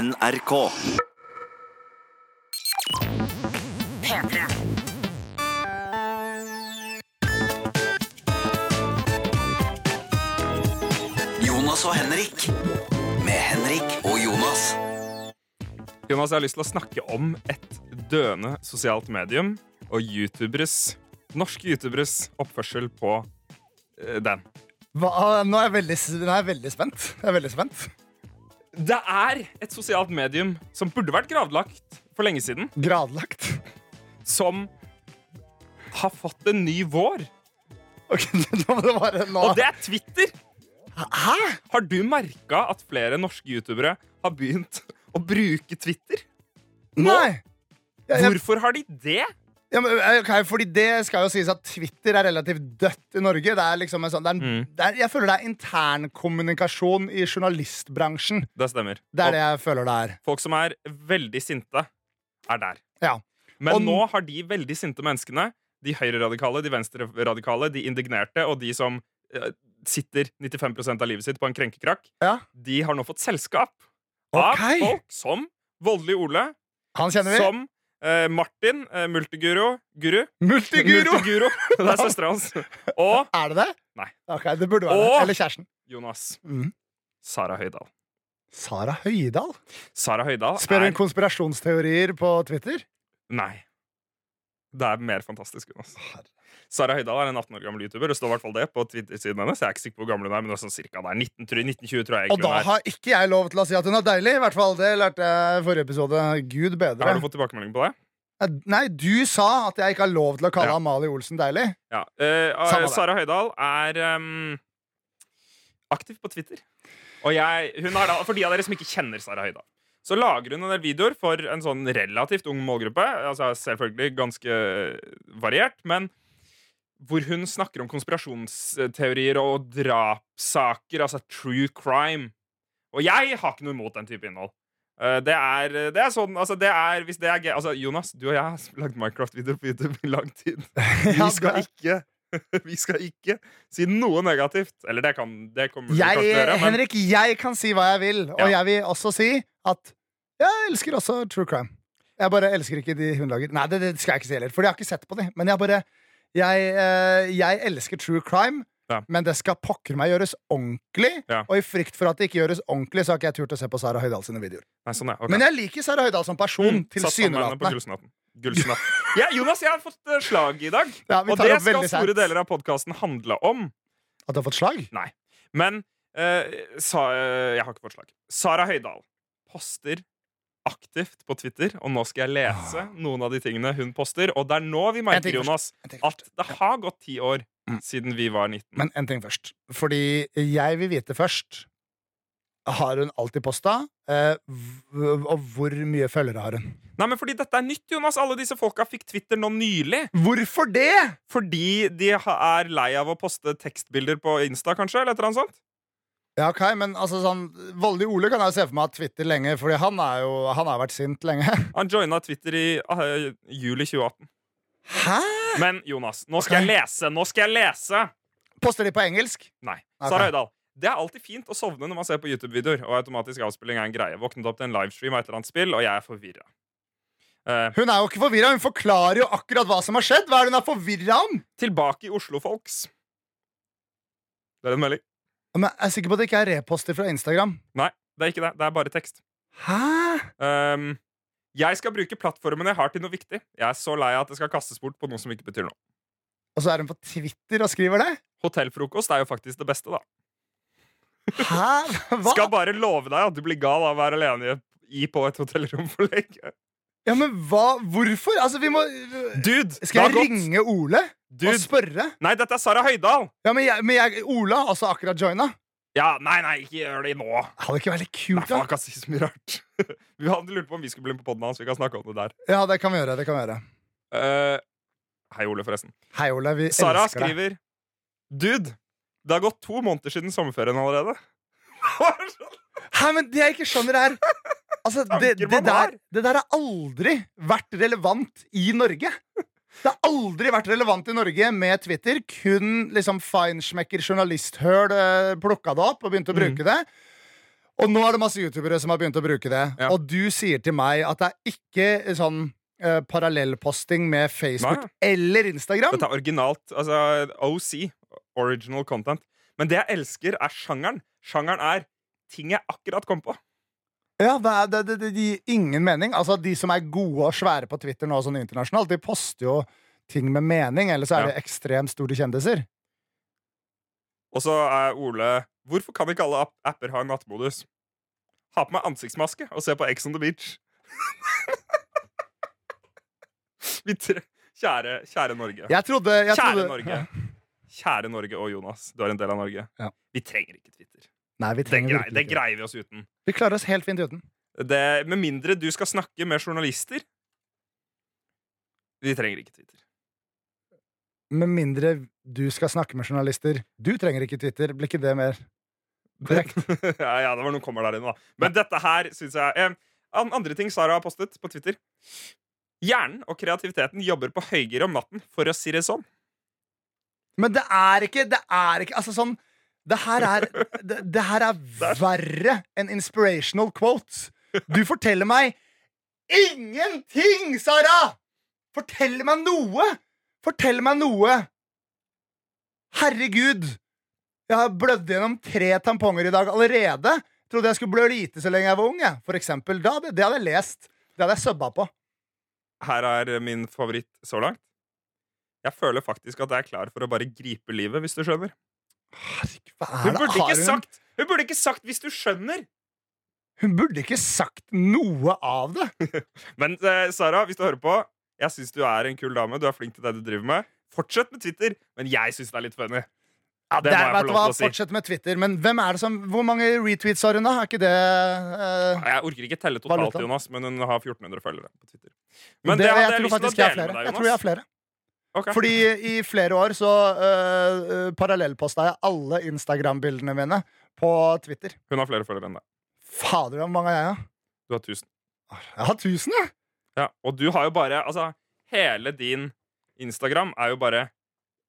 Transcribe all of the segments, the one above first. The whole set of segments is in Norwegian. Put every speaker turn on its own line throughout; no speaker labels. NRK. Jonas og Henrik. Med Henrik og Jonas.
Jonas, jeg har lyst til å snakke om et døende sosialt medium og YouTuberes, norske YouTuberes oppførsel på eh, den.
Hva, Ah, nå, er jeg veldig, nå er jeg veldig spent. Jeg er veldig spent.
Det er et sosialt medium som burde vært gravlagt for lenge siden,
Gradlagt.
som har fått en ny vår,
Ok, nå må det bare nå.
og det er Twitter! Hæ? Har du merka at flere norske youtubere har begynt å bruke Twitter?
Nei! Jeg, jeg,
Hvorfor har de det?
ja, men, eh, ok, fordi det skal jo sies at Twitter er relativt dødt i Norge. Det er liksom en sånn, det
Mm.
er, en- det er, jeg føler det er internkommunikasjon i journalistbransjen.
Det stemmer.
Det
Og-
er det jeg føler det er.
Folk som er veldig sinte, er der.
Ja.
Men
Og n-
nå har de veldig sinte menneskene, de høyreradikale, de venstreradikale, de indignerte og de som eh, sitter 95 av livet sitt på en krenkekrakk,
Ja.
de har nå fått selskap
Ok.
av folk som Voldelig Ole,
Han kjenner vi.
som eh, Martin, eh, multiguro Guru.
Multiguro!
Multiguro. Det er søstera hans. Og
Er det det?
Nei.
Ok, Det burde være
Åh!
det. Eller kjæresten.
Jonas.
Mhm.
Sara Høydahl.
Sara Høydahl?
Sara Høydahl
Spør hun
er
konspirasjonsteorier på Twitter?
Nei. Det er mer fantastisk, Jonas. Sara Høydahl er en 18 år gammel youtuber. Det står i hvert fall det på Twitter-siden hennes. Jeg er ikke sikker på hvor gammel hun er, men det er sånn cirka der. 19, tror- 1920 tror jeg
Og
egentlig
da
hun er. Har...
har ikke jeg lov til å si at hun er deilig. I hvert fall Det lærte jeg i forrige episode. Gud bedre.
du fått tilbakemelding på det?
Nei, du sa at jeg ikke har lov til å kalle
Ja.
Amalie Olsen deilig.
Ja. Eh,
Samme
eh,
det.
Sara Høydahl er ehm, aktiv på Twitter. Og jeg, hun er da, For de av dere som ikke kjenner Sara Høydahl, så lager hun en del videoer for en sånn relativt ung målgruppe. Altså Selvfølgelig ganske eh, variert, men hvor hun snakker om konspirasjonsteorier og drapssaker, altså true crime. Og jeg har ikke noe imot den type innhold. Eh, Det er, det er sånn, altså det er, hvis det er gøy altså Jonas, du og jeg har lagd Minecraft-videoer på YouTube i lang tid. Vi
Ja,
skal
det-
ikke Vi skal ikke si noe negativt. Eller det kan det kommer vi
Jeg,
kanskje til å gjøre. Men
Henrik, jeg kan si hva jeg vil, og
Ja.
jeg vil også si at jeg elsker også true crime. Jeg bare elsker ikke de hun lager. Nei, det, det skal jeg ikke si heller, for jeg har ikke sett på de. Men jeg bare Jeg, eh, jeg elsker true crime,
Ja.
men det skal pokker meg gjøres ordentlig.
Ja.
Og i frykt for at det ikke gjøres ordentlig, så har ikke jeg turt å se på Sara Høydahl sine videoer.
Nei, sånn er, ok.
Men jeg liker Sara Høydahl som person,
Mm, satt sammen med henne på
tilsynelatende.
Gullsnatten. Gullsnatt. Ja, Jonas, jeg har fått eh, slag i dag.
Ja, vi
Og
tar
det
opp
skal
veldig
store
sent.
deler av podkasten handle om.
At du har fått slag?
Men eh, sa, eh, jeg har ikke fått slag. Sara Høydahl poster aktivt på Twitter, og nå skal jeg lese
Ah.
noen av de tingene hun poster. Og det er nå vi
En ting
merker
først.
Jonas,
En ting
at
først.
det har gått ti år
Mm.
siden vi var 19.
Men en ting først. Fordi jeg vil vite først Har hun alltid posta? Eh, hv- og hvor mye følgere har hun?
Nei, men fordi dette er nytt, Jonas. Alle disse folka fikk Twitter nå nylig.
Hvorfor det?!
Fordi de ha- er lei av å poste tekstbilder på Insta, kanskje? eller et eller annet sånt.
Ja, ok, men altså sånn Voldig Ole kan jeg se for meg at Twitter lenge, Fordi han er jo Han har vært sint lenge.
Han joina Twitter i eh, juli 2018.
Hæ?!
Men Jonas, nå
Ok.
skal jeg lese! Nå skal jeg lese!
Poster de på engelsk?
Nei.
Ok.
Sara Høydahl. Det er alltid fint å sovne når man ser på YouTube-videoer, og automatisk avspilling er en greie. Våknet opp til en livestream av et eller annet spill, og jeg er Eh, forvirra.
Hun er jo ikke forvirra. Hun forklarer jo akkurat hva som har skjedd. Hva er det hun er forvirra om?
tilbake i Oslo, folks. Det er en melding.
Men jeg er sikker på at det ikke er reposter fra Instagram.
Nei, det er ikke det. Det er bare tekst.
Hæ?
Ehm, jeg skal bruke plattformen jeg har til noe viktig. Jeg er så lei av at det skal kastes bort på noe som ikke betyr noe.
Og så er hun på Twitter og skriver det?
Hotellfrokost er jo faktisk det beste, da.
Hæ? Hva?
Skal bare love deg at du blir gal av å være alene i på et hotellrom for lenge.
Eh, Ja, men hva? Hvorfor? Altså, vi må
Dude,
Skal
det har
jeg ringe Ole
gått. Dude.
og spørre?
Nei, dette er Sara Høydahl!
Ja, men, jeg, men jeg, Ole har altså akkurat joina.
Ja, nei, nei, ikke gjør det nå.
Hadde ikke vært litt
Nei,
kult,
faen,
da?
jeg kan si så mye rart. vi hadde lurt på om vi skulle bli med på poden hans. Vi kan snakke om det der.
Ja, det kan vi gjøre. det kan vi gjøre
Eh, hei, Ole, forresten.
Hei, Ole. Vi
Sara
elsker deg.
skriver Dude, det har gått to måneder siden sommerferien allerede.
Hæ, men det jeg ikke skjønner, er Altså, det,
Tanker
det,
man har.
der, det der har aldri vært relevant i Norge. Det har aldri vært relevant i Norge med Twitter. Kun liksom feinschmecker journalisthøl eh, plukka det opp og begynte å
Mm.
bruke det. Og nå er det masse youtubere som har begynt å bruke det.
Ja.
Og du sier til meg at det er ikke sånn eh, parallellposting med Facebook
Nei.
eller Instagram.
Dette er originalt. Altså OC. Original content. Men det jeg elsker, er sjangeren. Sjangeren er ting jeg akkurat kom på.
Ja, det, er, det, det, det gir ingen mening. Altså, De som er gode og svære på Twitter nå, sånn internasjonalt, de poster jo ting med mening, ellers er
Ja.
det ekstremt store kjendiser.
Og så er Ole Hvorfor kan ikke alle app- apper ha en nattmodus? Ha på meg ansiktsmaske og se på Ex on the Beach. Vi tre Kjære, kjære Norge.
Jeg trodde, jeg
Kjære
trodde,
Norge. Kjære Norge og Jonas. Du er en del av Norge.
Ja.
Vi trenger ikke Twitter.
Nei, vi
Det,
trenger
grei,
virkelig
det
ikke.
greier vi oss uten.
Vi klarer oss helt fint uten.
Det, med mindre du skal snakke med journalister. Vi trenger ikke Twitter.
Med mindre du skal snakke med journalister. Du trenger ikke Twitter. Blir ikke det mer korrekt?
ja, ja, det var noen kommer der inne, da. Men dette her syns jeg eh, an- Andre ting Sara har postet på Twitter. Hjernen og kreativiteten jobber på høygir om natten, for å si det sånn.
Men det er ikke Det er ikke Altså sånn Det her er Det, det her er verre enn inspirational quotes. Du forteller meg ingenting, Sara! Fortell meg noe! Fortell meg noe! Herregud! Jeg har blødd gjennom tre tamponger i dag allerede. Trodde jeg skulle blø lite så lenge jeg var ung. Jeg. For eksempel, da, det, det hadde jeg lest. Det hadde jeg subba på.
Her er min favoritt så langt. Jeg føler faktisk at jeg er klar for å bare gripe livet, hvis du skjønner.
Herregud, hva er
Hun
det?
burde
Har
ikke sagt, hun burde ikke sagt 'hvis du skjønner'.
hun burde ikke sagt noe av det.
Men eh, Sara, hvis du hører på, jeg syns du er en kul dame. Du er flink til det du driver med. Fortsett med Twitter, men jeg syns det er litt funny.
Ja,
Det
det
må jeg
er,
få
vet du
lov
hva,
til å si.
Fortsett med Twitter, men hvem er det som, hvor mange retweets har hun, da? Er ikke det eh,
Jeg orker ikke telle totalt,
Valuta.
Jonas, men hun har 1400 følgere på Twitter. Men det,
det-
hadde jeg,
tror
lyst til å
faktisk jeg har
dele med
flere.
deg,
Jeg
Jonas.
tror jeg har flere.
Ok.
Fordi i flere år så uh, parallellposta jeg alle Instagram-bildene mine på Twitter.
Hun har flere følgere enn deg.
Fader, hvor mange er jeg, da?
Du har 1000.
Jeg har tusen, jeg!
Ja, og du har jo bare Altså, hele din Instagram er jo bare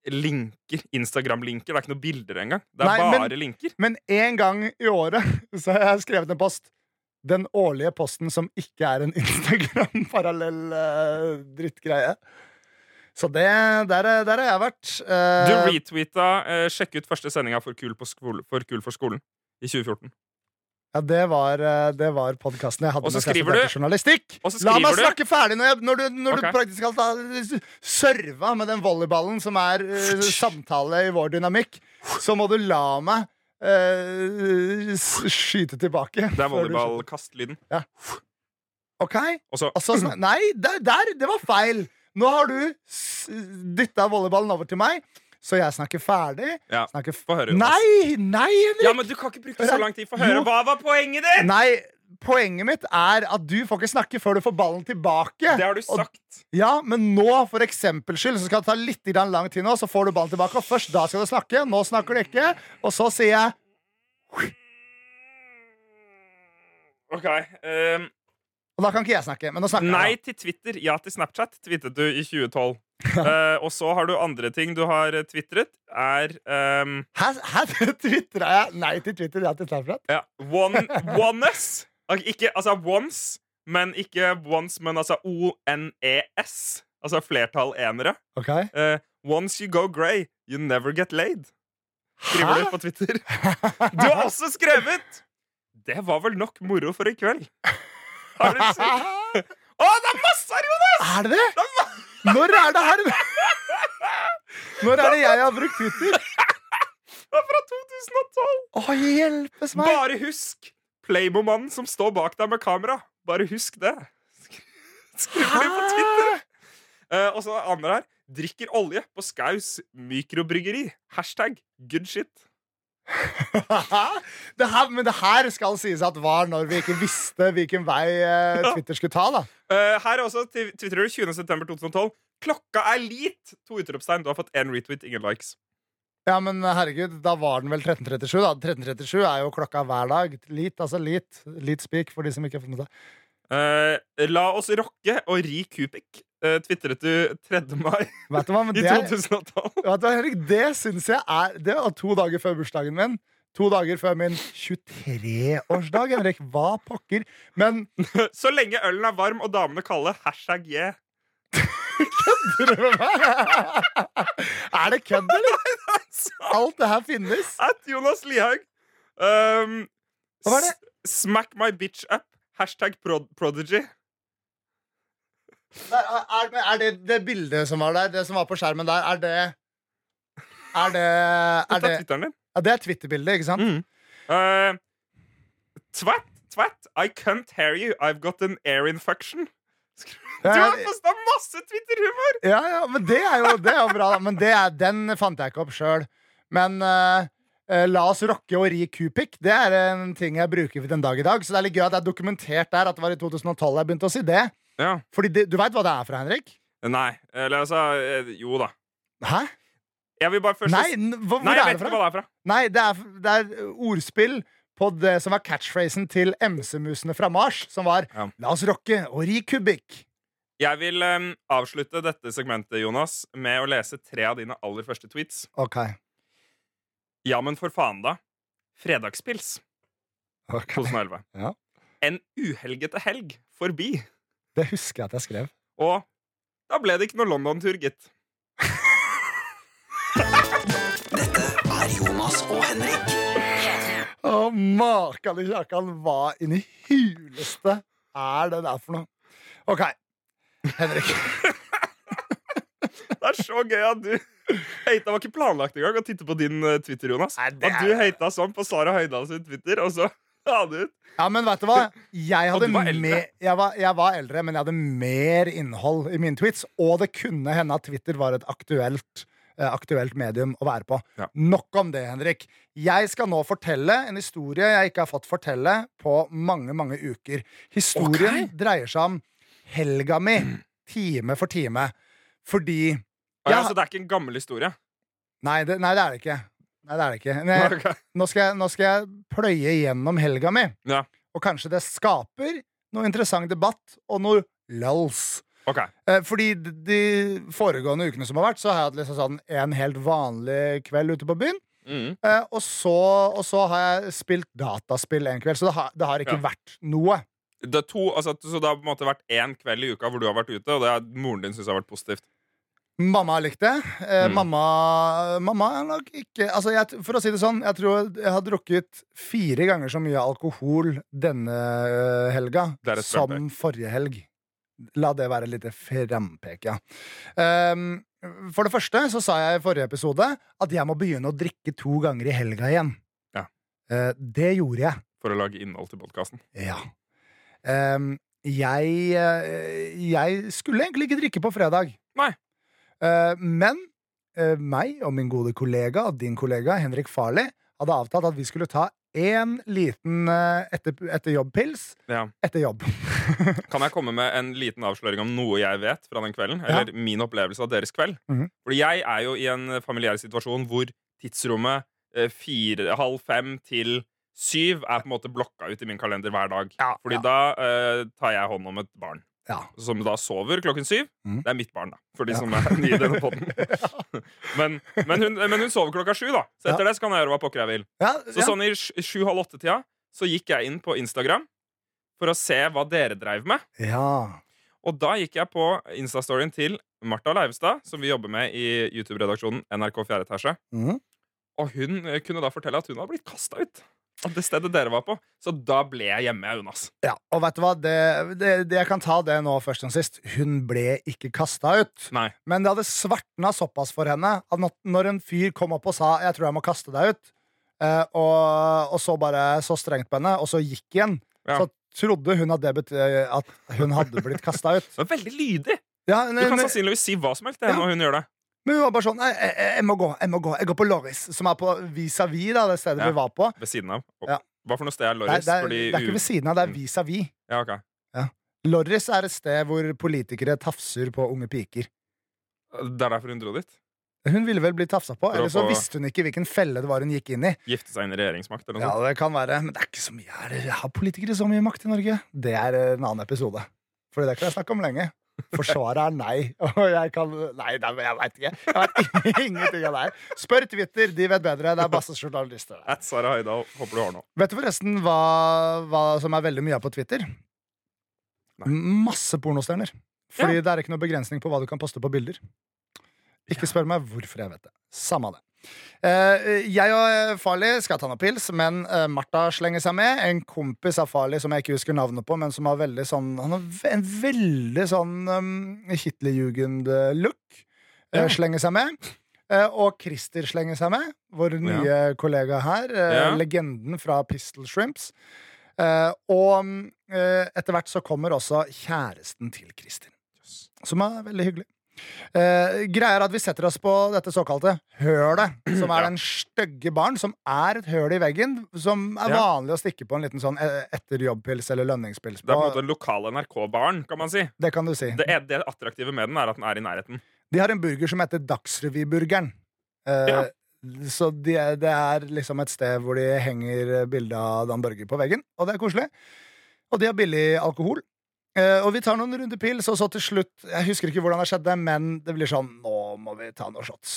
linker. Instagram-linker. Det er ikke noen bilder engang. Det er
Nei, men-
bare linker.
Men én gang i året så har jeg skrevet en post. Den årlige posten som ikke er en Instagram-parallell eh, drittgreie. Så det Der, er- der har jeg vært.
Du
Eh,
retweeta eh, 'Sjekk ut første sendinga for Kul, på skole, for Kul for skolen' i 2014.
Ja, det var, eh, det var podkasten jeg hadde
Og så
mens jeg
skriver
studerte
du-
journalistikk.
og så
La meg
skriver du-
snakke ferdig når, jeg, når du, når
Ok.
du praktisk talt har serva med den volleyballen som er eh, samtale i vår dynamikk. Så må du la meg eh, s- skyte tilbake.
Det er
før du skyter.
volleyballkastlyden.
Ok?
Og så
Og så snak- nei, der, der! Det var feil! Nå har du s- dytta volleyballen over til meg, så jeg snakker ferdig.
ja,
Snakker f
Få høre, Jonas.
nei! Nei, Henrik!
Ja, men du kan ikke bruke så lang tid. Få høre.
Jo.
Hva var poenget ditt?!
Nei, poenget mitt er at du får ikke snakke før du får ballen tilbake.
Det har du
Og-
sagt.
Ja, Men nå, for eksempel skyld, så skal det ta litt grann lang tid nå, så får du ballen tilbake, og først da skal du snakke. Nå snakker du ikke, og så sier jeg
OK. ehm,
Og da kan ikke jeg snakke, men nå snakker
Nei
jeg.
til Twitter, ja til Snapchat, twittet du i 2012. Eh, og så har du andre ting du har eh, twitret, er ehm,
da. Hæ, hæ tvitra jeg nei til Twitter? Ja, til Snapchat?
ja, one, Ones. Al- Ikke, altså ones, men ikke ones, men altså O-N-E-S. Altså flertall enere.
Ok.
Eh, once you go grey, you never get laid. Skriver du
Hæ?
på Twitter. Du har også skrevet Det var vel nok moro for i kveld. Har du sett? Å, det er masse her, Jonas!
Er det det? Når er det her? Når er det jeg har brukt Twitter?
Det er fra 2012!
Å, hjelpes meg!
Bare husk Playmo-mannen som står bak deg med kamera. Bare husk det. Sk- Skriver de på Twitter. Eh, og så andre her. Drikker olje på Skaus mikrobryggeri. Hashtag good shit.
det her, men det her skal sies at var når vi ikke visste hvilken vei eh,
Ja.
Twitter skulle ta. da
Eh, her er også tv- twitterer du 20.9.2012. Klokka er lit! To utropstegn. Du har fått én retweet, ingen likes.
Ja, men eh, herregud, da var den vel 1337. da 1337 er jo klokka hver dag. Lit, altså lit. Lit speak, for de som ikke har fått med seg.
Eh, la oss rocke og ri Kubik. Uh, twitret du 3. mai
Vet du hva, men
i
det, er-
2012.
vet du hva, Henrik, det syns jeg er Det var to dager før bursdagen min. To dager før min 23-årsdag, Henrik. Hva pokker? Men
Så lenge ølen er varm og damene kalde, hashtag yeah.
Er det kødd, eller?
Altså,
Alt det her finnes.
At Jonas Lihaug. Um,
Hva var det?
s- Smack my bitch up. Hashtag prod prodigy.
Er, er, er det det bildet som var der, det som var på skjermen der, er det Er det, er
Dette
det,
er Twitteren din.
ja, det er Twitter-bildet, ikke sant?
Mm. Uh, twat, twat, I can't hear you. I've got an air infection. Du har
Ja,
posta masse Twitter-humor!
ja, ja, men det er jo, det er jo bra. da. Men det er, den fant jeg ikke opp sjøl. Men eh, eh, la oss rocke og ri kupikk. Det er en ting jeg bruker den dag i dag. Så det er litt gøy at det er dokumentert der at det var i 2012 jeg begynte å si det.
Ja.
Fordi det, du veit hva det er fra, Henrik?
Nei. Eller altså eh, Jo da.
Hæ?
Jeg vil bare først
Nei, n- hvor, hvor
Nei, jeg
er
vet
det fra?
ikke hva det er fra.
Nei, det er, det er ordspill på det som var catchphrasen til MC-musene fra Mars, som var
Ja.
La oss rocke og ri kubikk.
Jeg vil em, avslutte dette segmentet Jonas, med å lese tre av dine aller første tweets.
Ok.
Ja, men for faen, da. Fredagspils
ok.
2011.
Ja.
En uhelgete helg forbi.
Det husker jeg at jeg skrev.
Og da ble det ikke noe London-tur, gitt.
Dette er Jonas og Henrik.
Å, makan i kjakan, hva inni huleste er det der for noe? Ok. Henrik.
Det er så gøy at du Heita var ikke planlagt engang å titte på din eh, Twitter, Jonas.
Nei, det
At
er-
du heita sånn på Sara Høydahl sin Twitter, og så la du ut.
Ja, men vet du hva? Jeg,
Og
hadde
du var eldre.
mer- jeg, var, jeg var eldre, men jeg hadde mer innhold i mine tweets. Og det kunne hende at Twitter var et aktuelt, eh, aktuelt medium å være på.
Ja.
Nok om det, Henrik. Jeg skal nå fortelle en historie jeg ikke har fått fortelle på mange, mange uker. Historien dreier seg om helga mi,
Mm.
time for time. Fordi
Og ja.
Ja.
Så det er ikke en gammel historie.
Nei, det, nei, det er det ikke. Nei, det er det ikke. Men jeg-
Ok.
nå skal, jeg, nå skal jeg pløye gjennom helga mi.
Ja.
Og kanskje det skaper noe interessant debatt og noe lols.
Ok.
Eh, fordi d- de foregående ukene som har vært, så har jeg hatt liksom sånn en helt vanlig kveld ute på byen.
Mm.
Eh, og, så, og så har jeg spilt dataspill en kveld, så det har, det har ikke
Ja.
vært noe.
Det er to, altså, så det har på en måte vært én kveld i uka hvor du har vært ute, og det er, moren din syns har vært positivt.
Mamma har likt det. Eh,
Mm.
Mamma Mamma er nok ikke altså jeg, t- For å si det sånn, jeg tror jeg har drukket fire ganger så mye alkohol denne eh, helga
Det er et
som
frempek.
forrige helg. La det være et lite frempek, ja. Ehm, for det første så sa jeg i forrige episode at jeg må begynne å drikke to ganger i helga igjen.
Ja.
Eh, det gjorde jeg.
For å lage innhold til podkasten.
Ja. Ehm, jeg, eh, jeg skulle egentlig ikke drikke på fredag.
Nei.
Eh, men eh, meg og min gode kollega og din kollega Henrik Farli hadde avtalt at vi skulle ta én liten eh, etter, etter jobb-pils
Ja.
etter jobb.
Kan jeg komme med en liten avsløring om noe jeg vet fra den kvelden? Eller min opplevelse av deres kveld?
Mhm.
Fordi jeg er jo i en familiær situasjon hvor tidsrommet eh, fire, halv fem til syv er på en måte blokka ut i min kalender hver dag.
Ja,
Fordi
ja.
da eh, tar jeg hånd om et barn
ja.
som da sover klokken syv.
Mhm.
Det er mitt barn, da. For de
Ja.
som er nye i denne podden. men, men, hun, men hun sover klokka sju, da. Så etter det så kan jeg gjøre hva pokker jeg vil.
ja,
Så
ja.
sånn i sj- sju-halv åtte-tida så gikk jeg inn på Instagram for å se hva dere dreiv med.
ja.
Og da gikk jeg på Insta-storyen til Martha Leivestad, som vi jobber med i YouTube-redaksjonen NRK 4. etasje.
Mhm.
Og hun eh, kunne da fortelle at hun hadde blitt kasta ut av det stedet dere var på. Så da ble jeg hjemme, jeg, Jonas.
ja. Og vet du hva, det, det, det, jeg kan ta det nå først og sist. Hun ble ikke kasta ut.
Nei.
Men det hadde svartna såpass for henne at nå- når en fyr kom opp og sa 'jeg tror jeg må kaste deg ut', eh, og, og så bare så strengt på henne, og så gikk igjen,
Ja.
så trodde hun at det betød at hun hadde blitt kasta ut.
Hun er veldig lydig.
Ja,
Du kan
men, eh,
sannsynligvis si hva som helst til henne, og hun gjør det.
men hun var bare sånn «Nei, jeg, jeg, 'jeg må gå, jeg må gå'. Jeg går på Loris, som er på vis-à-vis da, det stedet
Ja.
vi var på.
Ved siden av. Og,
Ja.
Hva for noe sted er
Det er,
Loris?
det, er,
Fordi Mm.
det er ikke ved siden av, det er vis-à-vis.
Ja, ok.
Loris er et sted hvor politikere tafser på unge piker.
Det er derfor hun dro dit.
Hun ville vel bli tafsa på,
å
eller så
få-
visste hun ikke hvilken felle det var hun gikk inn i.
Gifte seg inn i regjeringsmakt eller noe
Ja,
sånt.
det kan være, men det er ikke så mye her. Har politikere så mye makt i Norge? Det er eh, en annen episode. Fordi det kan jeg snakke om lenge. Forsvaret er nei. Og jeg kan Nei, nei men jeg veit ikke. Jeg vet ingenting av det her. Spør Twitter, de vet bedre. Det er masse journalister der.
At Sara Høydahl. Håper du har noe.
Vet du forresten hva, hva som er veldig mye av på Twitter?
Nei.
Masse pornostjerner. Fordi det er ikke noe begrensning på hva du kan poste på bilder. Ikke spør meg hvorfor jeg vet det. Samme av det. Eh, jeg og eh, Farley skal ta noen pils, men eh, Martha slenger seg med. En kompis av Farley som jeg ikke husker navnet på, men som har veldig sånn Han har ve- en veldig sånn um, Hitlerjugend-look. eh,
Ja.
Slenger seg med. Eh, og Christer slenger seg med, vår nye kollega her. eh,
Ja.
Legenden fra Pistol Shrimps. Eh, og mm, eh, etter hvert så kommer også kjæresten til Christer, som er veldig hyggelig. Eh, greia er at vi setter oss på dette såkalte hølet, som er
Ja.
den stygge baren, som er et høl i veggen, som er
Ja.
vanlig å stikke på en liten sånn eh, etterjobbpils eller lønningspils
Det er på
på.
en måte den lokale NRK-baren, kan man si.
Det kan du si.
Det, er, det attraktive med den er at den er i nærheten.
De har en burger som heter Dagsrevyburgeren. Eh,
Ja.
Så de, er- det er liksom et sted hvor de henger bilde av Dan Børge på veggen, og det er koselig. Og de har billig alkohol. Eh, og vi tar noen runder pils, og så til slutt Jeg husker ikke hvordan det skjedde, men det blir sånn Nå må vi ta noen shots.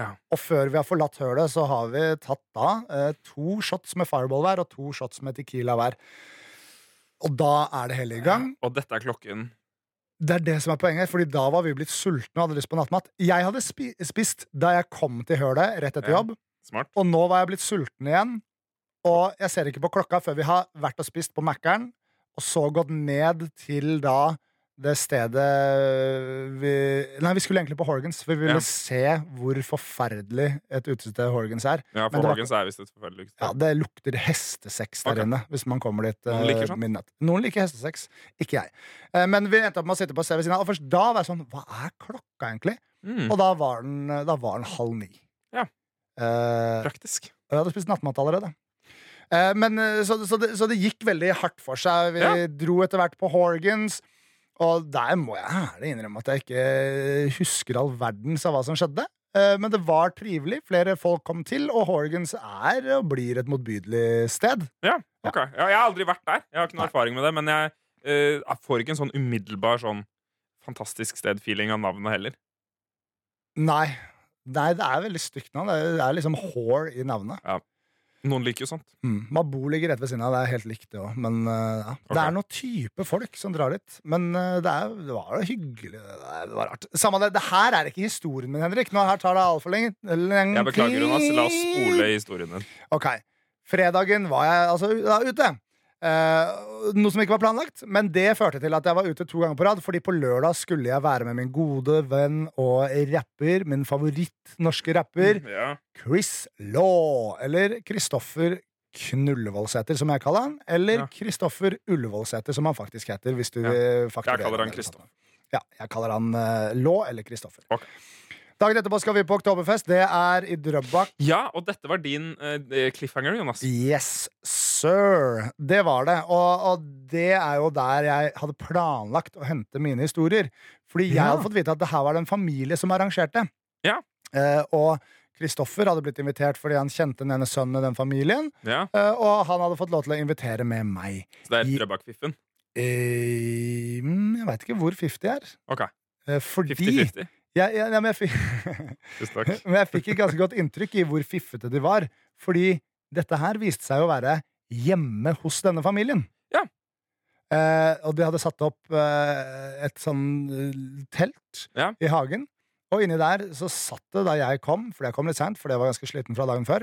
Ja.
Og før vi har forlatt hølet, så har vi tatt da eh, to shots med Fireball hver og to shots med Tequila hver. Og da er det hele i gang.
Og dette er klokken.
Det er det som er poenget, fordi da var vi blitt sultne og hadde lyst på nattmat. Jeg hadde spi spist da jeg kom til hølet rett etter
Ja.
jobb,
Smart.
og nå var jeg blitt sulten igjen. Og jeg ser ikke på klokka før vi har vært og spist på Mækkern, og så gått ned til da det stedet vi Nei, vi skulle egentlig på Horgans, for vi ville
Ja.
se hvor forferdelig et utested Horgans er.
Ja,
Men
for
det var-
Hågens er visst et forferdelig
Ja, Det lukter hestesex der
Ok.
inne hvis man kommer dit
Noen liker sånn?
eh,
sånt.
midnatt. Noen liker hestesex, ikke jeg. Eh, men vi endte opp med å sitte på stedet ved siden av, og først da var jeg sånn Hva er klokka, egentlig?
Mm,
Og da var den, eh, da var den halv ni.
Ja.
Eh,
praktisk.
og jeg hadde spist nattmat allerede. Eh, men, eh, så, så, det, så det gikk veldig hardt for seg. Vi
Ja.
dro etter hvert på Horgans. Og der må jeg ærlig innrømme at jeg ikke husker all verdens av hva som skjedde. Eh, Men det var trivelig. Flere folk kom til, og Horgans er og blir et motbydelig sted.
Ok, ja, Jeg har aldri vært der. Jeg har ikke noe
Nei.
erfaring med det. Men jeg eh, jeg får ikke en sånn umiddelbar sånn fantastisk sted-feeling av navnet heller.
Nei. Nei, det er veldig stygt navn. Det er- Det er liksom whore i navnet.
Noen liker jo sånt.
Mm. Mabo ligger rett ved siden av. Det er helt likt, det òg. Men eh, ja.
Ok.
det er noen type folk som drar dit. Men eh, det, er, det var jo hyggelig. Det, er- det var rart. Samme det, det her er ikke historien min, Henrik. Nå her tar det altfor lenge. Lang
Jeg beklager, Jonas. La oss spole historien din.
Ok, fredagen var jeg altså da, ute Eh, Noe som ikke var planlagt Men det førte til at jeg var ute to ganger på rad Fordi på lørdag skulle jeg være med min gode venn Og rapper, min favoritt norske rapper
Ja.
Chris Law Eller Kristoffer Knullevoldsæter som jeg kaller han Eller
Ja.
Kristoffer Ullevoldsæter som han faktisk heter Hvis du eh,
Ja.
vil fakturere
Jeg kaller han
eller
Kristoff.
noe sånt. Ja, jeg kaller han eh, Law eller Kristoffer
Ok.
Dagen etterpå skal vi på Oktoberfest Det er i Drøbak
ja, og dette var din eh, cliffhanger, Jonas.
Yes, sir. Det var det. Og, og det er jo der jeg hadde planlagt å hente mine historier. Fordi jeg
Ja.
hadde fått vite at det her var det en familie som arrangerte.
Ja.
Eh, og Kristoffer hadde blitt invitert fordi han kjente den ene sønnen i den familien.
Ja,
Eh, og han hadde fått lov til å invitere med meg.
Så det er
I-
Drøbak-fiffen.
Eh, mm, jeg veit ikke hvor 50 er.
Ok.
Eh, fordi
50-50.
Jeg, jeg, ja, men jeg fikk
Tusen takk.
Men jeg fikk et ganske godt inntrykk i hvor fiffete de var. Fordi dette her viste seg å være hjemme hos denne familien.
Ja.
Eh, og de hadde satt opp eh, et sånn eh, telt
Ja.
i hagen. Og inni der så satt det, da jeg kom, for jeg kom litt seint, for jeg var ganske sliten fra dagen før,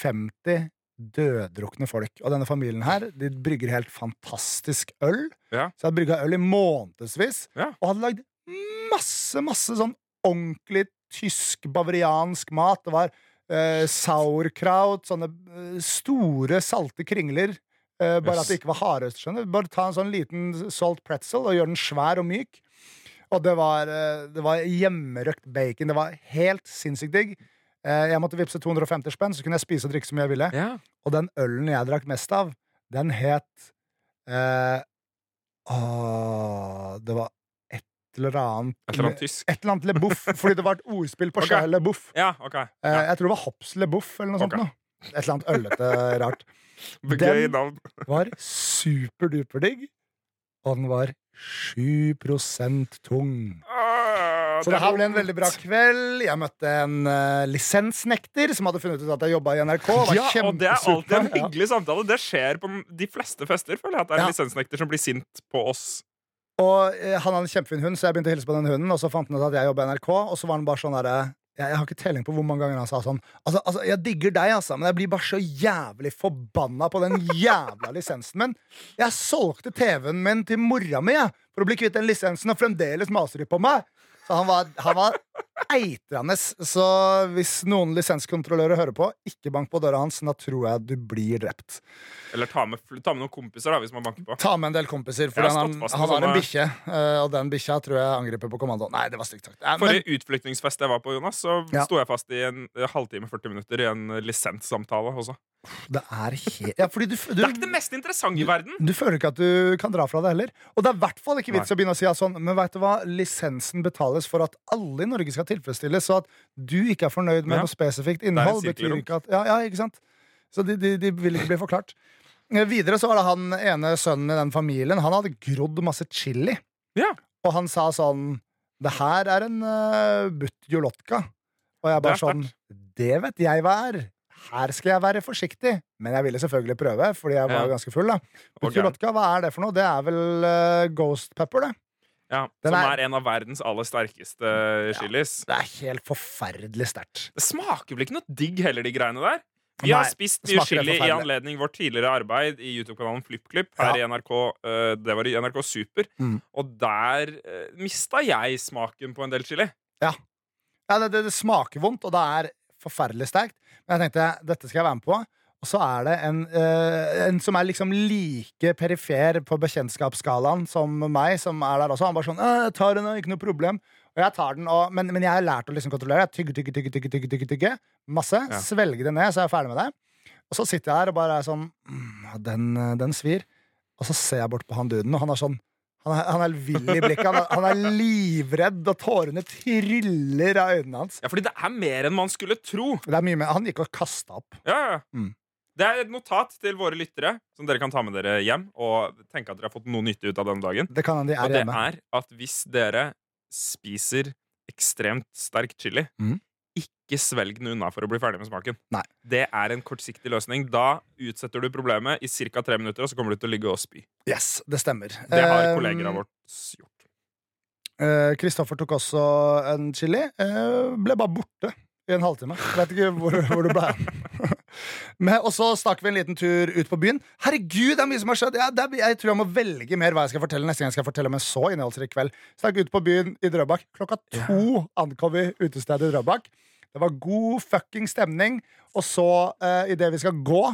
50 døddrukne folk. Og denne familien her, de brygger helt fantastisk øl.
Ja.
Så jeg brygga øl i månedsvis,
Ja.
og hadde lagd masse, masse sånn ordentlig tysk, bavariansk mat. Det var eh, sauerkraut, sånne eh, store, salte kringler. Eh, bare
Yes.
at det ikke var hardøst, skjønner du. Bare ta en sånn liten salt pretzel og gjøre den svær og myk. Og det var, eh, det var hjemmerøkt bacon. Det var helt sinnssykt digg. Eh, jeg måtte vippse 250 spenn, så kunne jeg spise og drikke så mye jeg ville.
Ja.
Og den ølen jeg drakk mest av, den het eh, åh, Det var et eller annet
Et eller annet tysk.
Et eller annet Le Boff, fordi det var et ordspill på
Ok.
okay. Le Boff.
Ja, ok.
Eh,
Ja.
Jeg tror det var Hops Le Boff eller noe
Ok.
sånt. Noe. Et eller annet øllete rart.
Gøy
Den
navn.
var superduperdigg. og den var 7 tung.
Åh,
Så det her
var
ble en veldig bra kveld. Jeg møtte en eh, lisensnekter som hadde funnet ut at jeg jobba i NRK. Var
Ja, og det er
kjempesulten.
alltid
Ja.
en hyggelig samtale. Det skjer på de fleste fester, føler jeg. At det er
Ja.
en lisensnekter som blir sint på oss.
Og eh, han hadde en kjempefin hund, så jeg begynte å hilse på den hunden. Og så fant han ut at jeg jobba i NRK, og så var han bare sånn derre jeg, jeg har ikke telling på hvor mange ganger han sa sånn. Altså, altså, jeg digger deg, altså, men jeg blir bare så jævlig forbanna på den jævla lisensen min. Jeg solgte TV-en min til mora mi jeg, for å bli kvitt den lisensen, og fremdeles maser de på meg. Så han var, han var eitrende. Så hvis noen lisenskontrollører hører på, ikke bank på døra hans, da tror jeg du blir drept.
Eller ta med, fl- ta med noen kompiser, da, hvis man banker på.
Ta med en del kompiser, for
Jeg har
han,
stått fast med
han har en
sånne-
bikkje. eh, Og den bikkja tror jeg angriper på kommando. Nei, det var stygt sagt. Eh, Men,
Forrige utflyktningsfest jeg var på, Jonas, så
Ja.
sto jeg fast i en eh, halvtime 40 minutter i en eh, lisenssamtale også.
det er helt Ja, fordi du, f-
Det er ikke
du,
det mest interessante i verden!
du føler ikke at du kan dra fra det heller. Og det er i hvert fall ikke vits å begynne å si at sånn, men vet du hva, lisensen betales for at alle i Norge skal tilfredsstilles, så at du ikke er fornøyd med
Ja.
noe spesifikt
en
innhold, betyr
sirkelrunk.
ikke at Ja, ja ikke sant? Så de, de, de vil ikke bli forklart. Eh, Videre så var det han ene sønnen i den familien. Han hadde grodd masse chili.
Ja.
Og han sa sånn Det her er en uh, buttjolotka. Og jeg
Det er
bare sånn Det vet jeg hva er. Her skal jeg være forsiktig. Men jeg ville selvfølgelig prøve, fordi jeg var
Ja.
jo ganske full. da
Og
Buttjolotka, hva er det for noe? Det er vel eh, ghost pepper, det.
Ja,
Den
som
er-
er en av verdens aller sterkeste chilis.
Det er helt forferdelig sterkt.
Det smaker vel ikke noe digg heller, de greiene der? Vi har
Nei,
spist
det
mye
smaker helt
chili i
forferdelig.
anledning vårt tidligere arbeid i YouTube-kanalen FlippKlipp her
Ja.
i NRK. eh, det var i NRK Super.
Mm.
Og der uh, mista jeg smaken på en del chili.
Ja, det, det, det smaker vondt, og det er forferdelig sterkt. Men jeg tenkte dette skal jeg være med på. Og så er det en, eh, en som er liksom like perifer på bekjentskapsskalaen som meg, som er der også. Han bare sånn «Eh, 'Jeg tar den, og ikke noe problem'. Og jeg tar den, og, men, men jeg har lært å liksom kontrollere. Jeg tygger, tygger, tygger, tygger, tygger, tygger, tygger. Masse.
Ja.
Svelger det ned, så er jeg ferdig med det. Og så sitter jeg her og bare er sånn mm, den, eh, den svir. Og så ser jeg bort på han duden, og han er sånn han er, han er vill i blikket. Han er, han er livredd, og tårene triller av øynene hans.
Ja, fordi det er mer enn man skulle tro.
Det er mye mer. Han gikk og kasta opp.
Ja, ja.
Mm.
Det er et notat til våre lyttere som dere kan ta med dere hjem og tenke at dere har fått noe nyttig ut av denne dagen.
Det kan hende de
Og
er
det
hjemme.
er at hvis dere spiser ekstremt sterk chili,
Mhm.
ikke svelg den unna for å bli ferdig med smaken.
Nei.
Det er en kortsiktig løsning. Da utsetter du problemet i ca. tre minutter, og så kommer du til å ligge og spy.
Yes, det stemmer.
Det har
Eh,
kolleger av oss gjort.
eh, Kristoffer tok også en chili. eh, ble bare borte i en halvtime. Vet ikke hvor, hvor du ble av. Men- Og så stakk vi en liten tur ut på byen. Herregud, det er mye som har skjedd! Ja, det er, jeg tror jeg må velge mer hva jeg skal fortelle neste gang jeg skal fortelle om en så innholdsrik kveld. Stakk ut på byen i Drøbak. Klokka to ankom vi utestedet i Drøbak. Det var god fucking stemning. Og så, eh, i idet vi skal gå,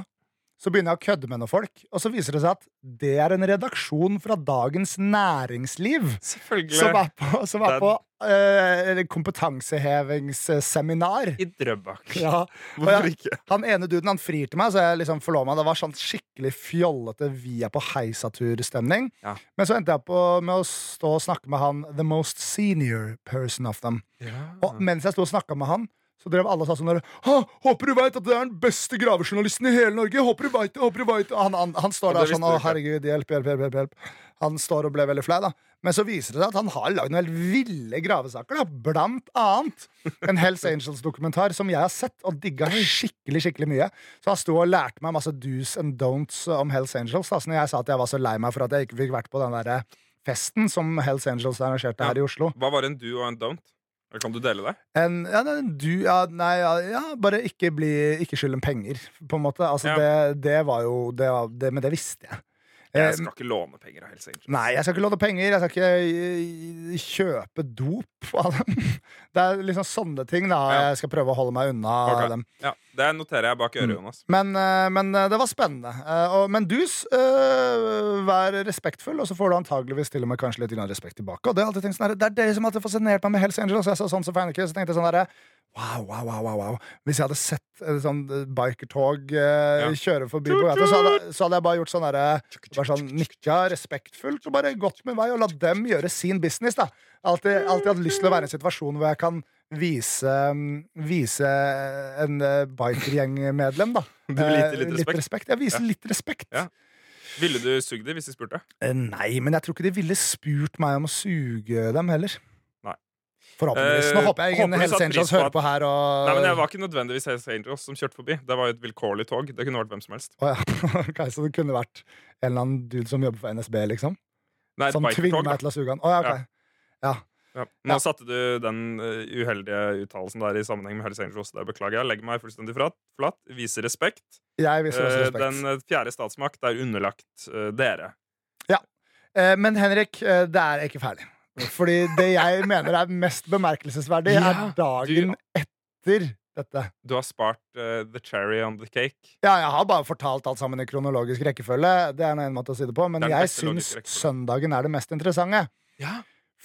så begynner jeg å kødde med noen folk. Og så viser det seg at det er en redaksjon fra Dagens Næringsliv som
Selvfølgelig.
er på, som er
Den-
på eh, kompetansehevingsseminar.
I Drøbak.
Ja, og
Hvorfor
jeg,
ikke?
han ene duden han frir til meg, så jeg liksom forlova meg. Det var sånn skikkelig fjollete vi er på heisatur-stemning.
Ja.
Men så endte jeg på med å stå og snakke med han the most senior person of them.
Mhm.
Og mens jeg sto og snakka med han, så drev alle og sa sånn der, «Hå, Håper du veit at det er den beste gravejournalisten i hele Norge! Håper du vet det, håper du vet det Og han, han, han står
Og det
der sånn
visste
Å,
du ikke.
herregud, hjelp, hjelp, hjelp, hjelp, hjelp. Han står og ble veldig flau, da. Men så viser det seg at han har lagd noen helt ville gravesaker, da. Blant annet en Hells Angels-dokumentar som jeg har sett og digga skikkelig, skikkelig mye. Så han sto og lærte meg masse do's and don'ts om Hells Angels. Da. Så når jeg sa at jeg var så lei meg for at jeg ikke fikk vært på den derre festen som Hells Angels arrangerte her i Oslo.
Hva var en do og en don't? Eller Kan du dele det?
En, ja, nei, du, ja, nei, ja, ja, bare ikke, bli, ikke skyld dem penger, på en måte. Altså, det, det var jo det, var, det, Men det visste jeg. Eh,
Jeg skal ikke låne penger av Hells Angels.
Nei, jeg skal ikke låne penger. Jeg skal ikke eh, kjøpe dop av dem. Det er liksom sånne ting da
Ja.
jeg skal prøve å holde meg unna
Ok.
dem. Mm.
Ja, det noterer jeg bak øret, Jonas.
Men, eh, men eh, det var spennende. Eh, og, men dus, eh, vær respektfull, og så får du antageligvis til og med kanskje litt grann respekt tilbake. Og det, har jeg alltid tenkt sånn her, det er dere som alltid har fascinert meg med Hells Angels. Og jeg så sånn som Feineke, så tenkte jeg sånn herre Wow, wow, wow, wow, wow. Hvis jeg hadde sett et sånn eh, bikertog eh,
Ja.
kjøre forbi på gata, så, hadde- så hadde jeg bare gjort sånn herre Bare sånn nikka respektfullt og bare gått min vei og latt dem gjøre sin business, da. Alltid, alltid hatt lyst til å være i en situasjon hvor jeg kan vise, mm, vise en eh, bikergjengmedlem, da.
Du vil gi til
Eh,
litt respekt.
Jeg viser litt respekt.
Ja. Ville du sugd dem hvis de spurte?
Eh, Nei, men jeg tror ikke de ville spurt meg om å suge dem heller.
Nei.
Forhåpentligvis. Nå
Eh,
håper jeg ingen
håper de
Hells
satte
Angels
pris på
hører
at-
på her og
Nei, men Det var ikke nødvendigvis Hells Angels som kjørte forbi. Det var jo et vilkårlig tog. Det kunne vært hvem som helst.
Å ja. ok, så det kunne vært en eller annen dude som jobber for NSB, liksom?
Nei, et
Som
bikertog.
tvinger
da.
meg til å suge han? Å ja, ok. Ja.
Ja. Nå
Ja.
satte du den eh, uheldige uttalelsen der i sammenheng med Hells Angels. Der beklager jeg. Legger meg fullstendig flat. flat. Viser respekt.
Jeg viser også
Eh,
respekt.
Den eh, fjerde statsmakt er underlagt eh, dere.
Eh, Men Henrik, eh, det er ikke ferdig. Fordi det jeg mener er mest bemerkelsesverdig, er
Ja,
dagen
du-
etter dette.
Du har spart eh, the cherry on the cake.
Ja, jeg har bare fortalt alt sammen i kronologisk rekkefølge. Det er en måte å si det på Men
Det er den
jeg
beste
syns
logiske rekkefølgen.
søndagen er det mest interessante.
Ja.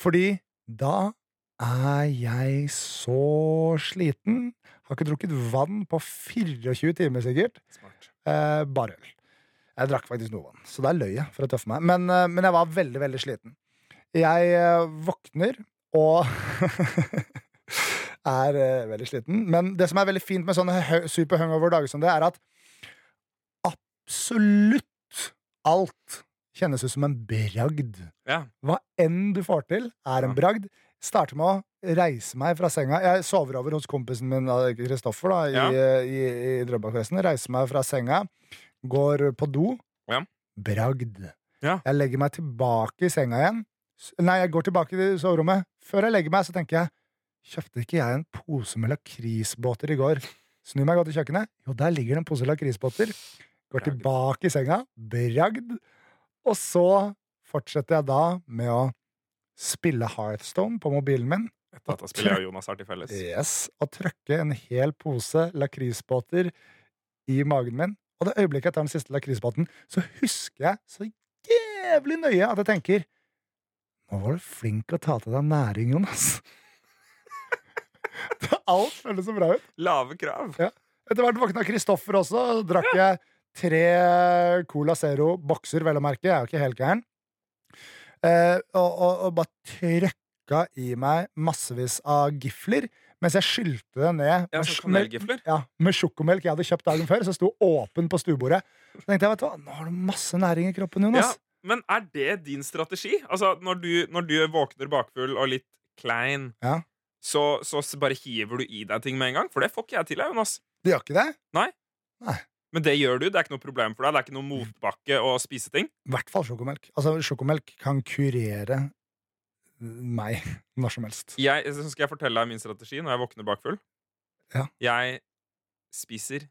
Fordi da er jeg så sliten. Har ikke drukket vann på 24 timer, sikkert.
Smart.
Eh, bare øl. Jeg drakk faktisk noe vann, så der løy jeg for å tøffe meg. Men, eh, men jeg var veldig, veldig sliten. Jeg eh, våkner og er eh, veldig sliten. Men det som er veldig fint med sånne hø- super hungover dager som det, er at absolutt alt kjennes ut som en bragd.
Ja.
Hva enn du får til, er en
Ja.
bragd. Starter med å reise meg fra senga. Jeg sover over hos kompisen min da, Kristoffer da, i,
Ja.
i, i Drøbakfesten. Reiser meg fra senga, går på do.
Ja.
Bragd.
Ja.
Jeg legger meg tilbake i senga igjen. S- Nei, jeg går tilbake til soverommet. Før jeg legger meg, så tenker jeg Kjøpte ikke jeg en pose med lakrisbåter i går? Snur meg godt i kjøkkenet. Jo, der ligger det en pose lakrisbåter. Går
Bragd.
tilbake i senga. Bragd. Og så fortsetter jeg da med å spille Hearthstone på mobilen min.
Dette spiller jeg og Jonas har til felles.
Yes, og trykke en hel pose lakrisbåter i magen min. Og det øyeblikket jeg tar den siste lakrisbåten, så husker jeg så jævlig nøye at jeg tenker Nå var du flink til å ta til deg næring, Jonas. Det- Alt føles så bra ut.
Lave krav.
Etter hvert våkna Kristoffer også, og drakk jeg tre Cola Zero-bokser, vel å merke. Jeg er jo ikke helt gæren. Eh, og, og, og bare trøkka i meg massevis av gifler, mens jeg skylte det ned
Ja, sånn
med
så
sj- med-
kanelgifler.
ja, med sjokomelk jeg hadde kjøpt dagen før, som sto åpen på stuebordet. Så tenkte jeg, vet du hva, nå har du masse næring i kroppen, Jonas.
Ja, men er det din strategi? Altså, når du, når du våkner bakfull og litt klein,
Ja.
så, så s- bare hiver du i deg ting med en gang? For det får ikke jeg til, jeg, Jonas.
Du gjør ikke det?
Men det gjør du. Det er ikke noe problem for deg. Det er ikke
Mm.
noe motbakke å spise ting.
I hvert fall sjokomelk. Altså, sjokomelk kan kurere meg når som helst.
Jeg, så skal jeg fortelle deg min strategi når jeg våkner bakfull.
Ja.
Jeg spiser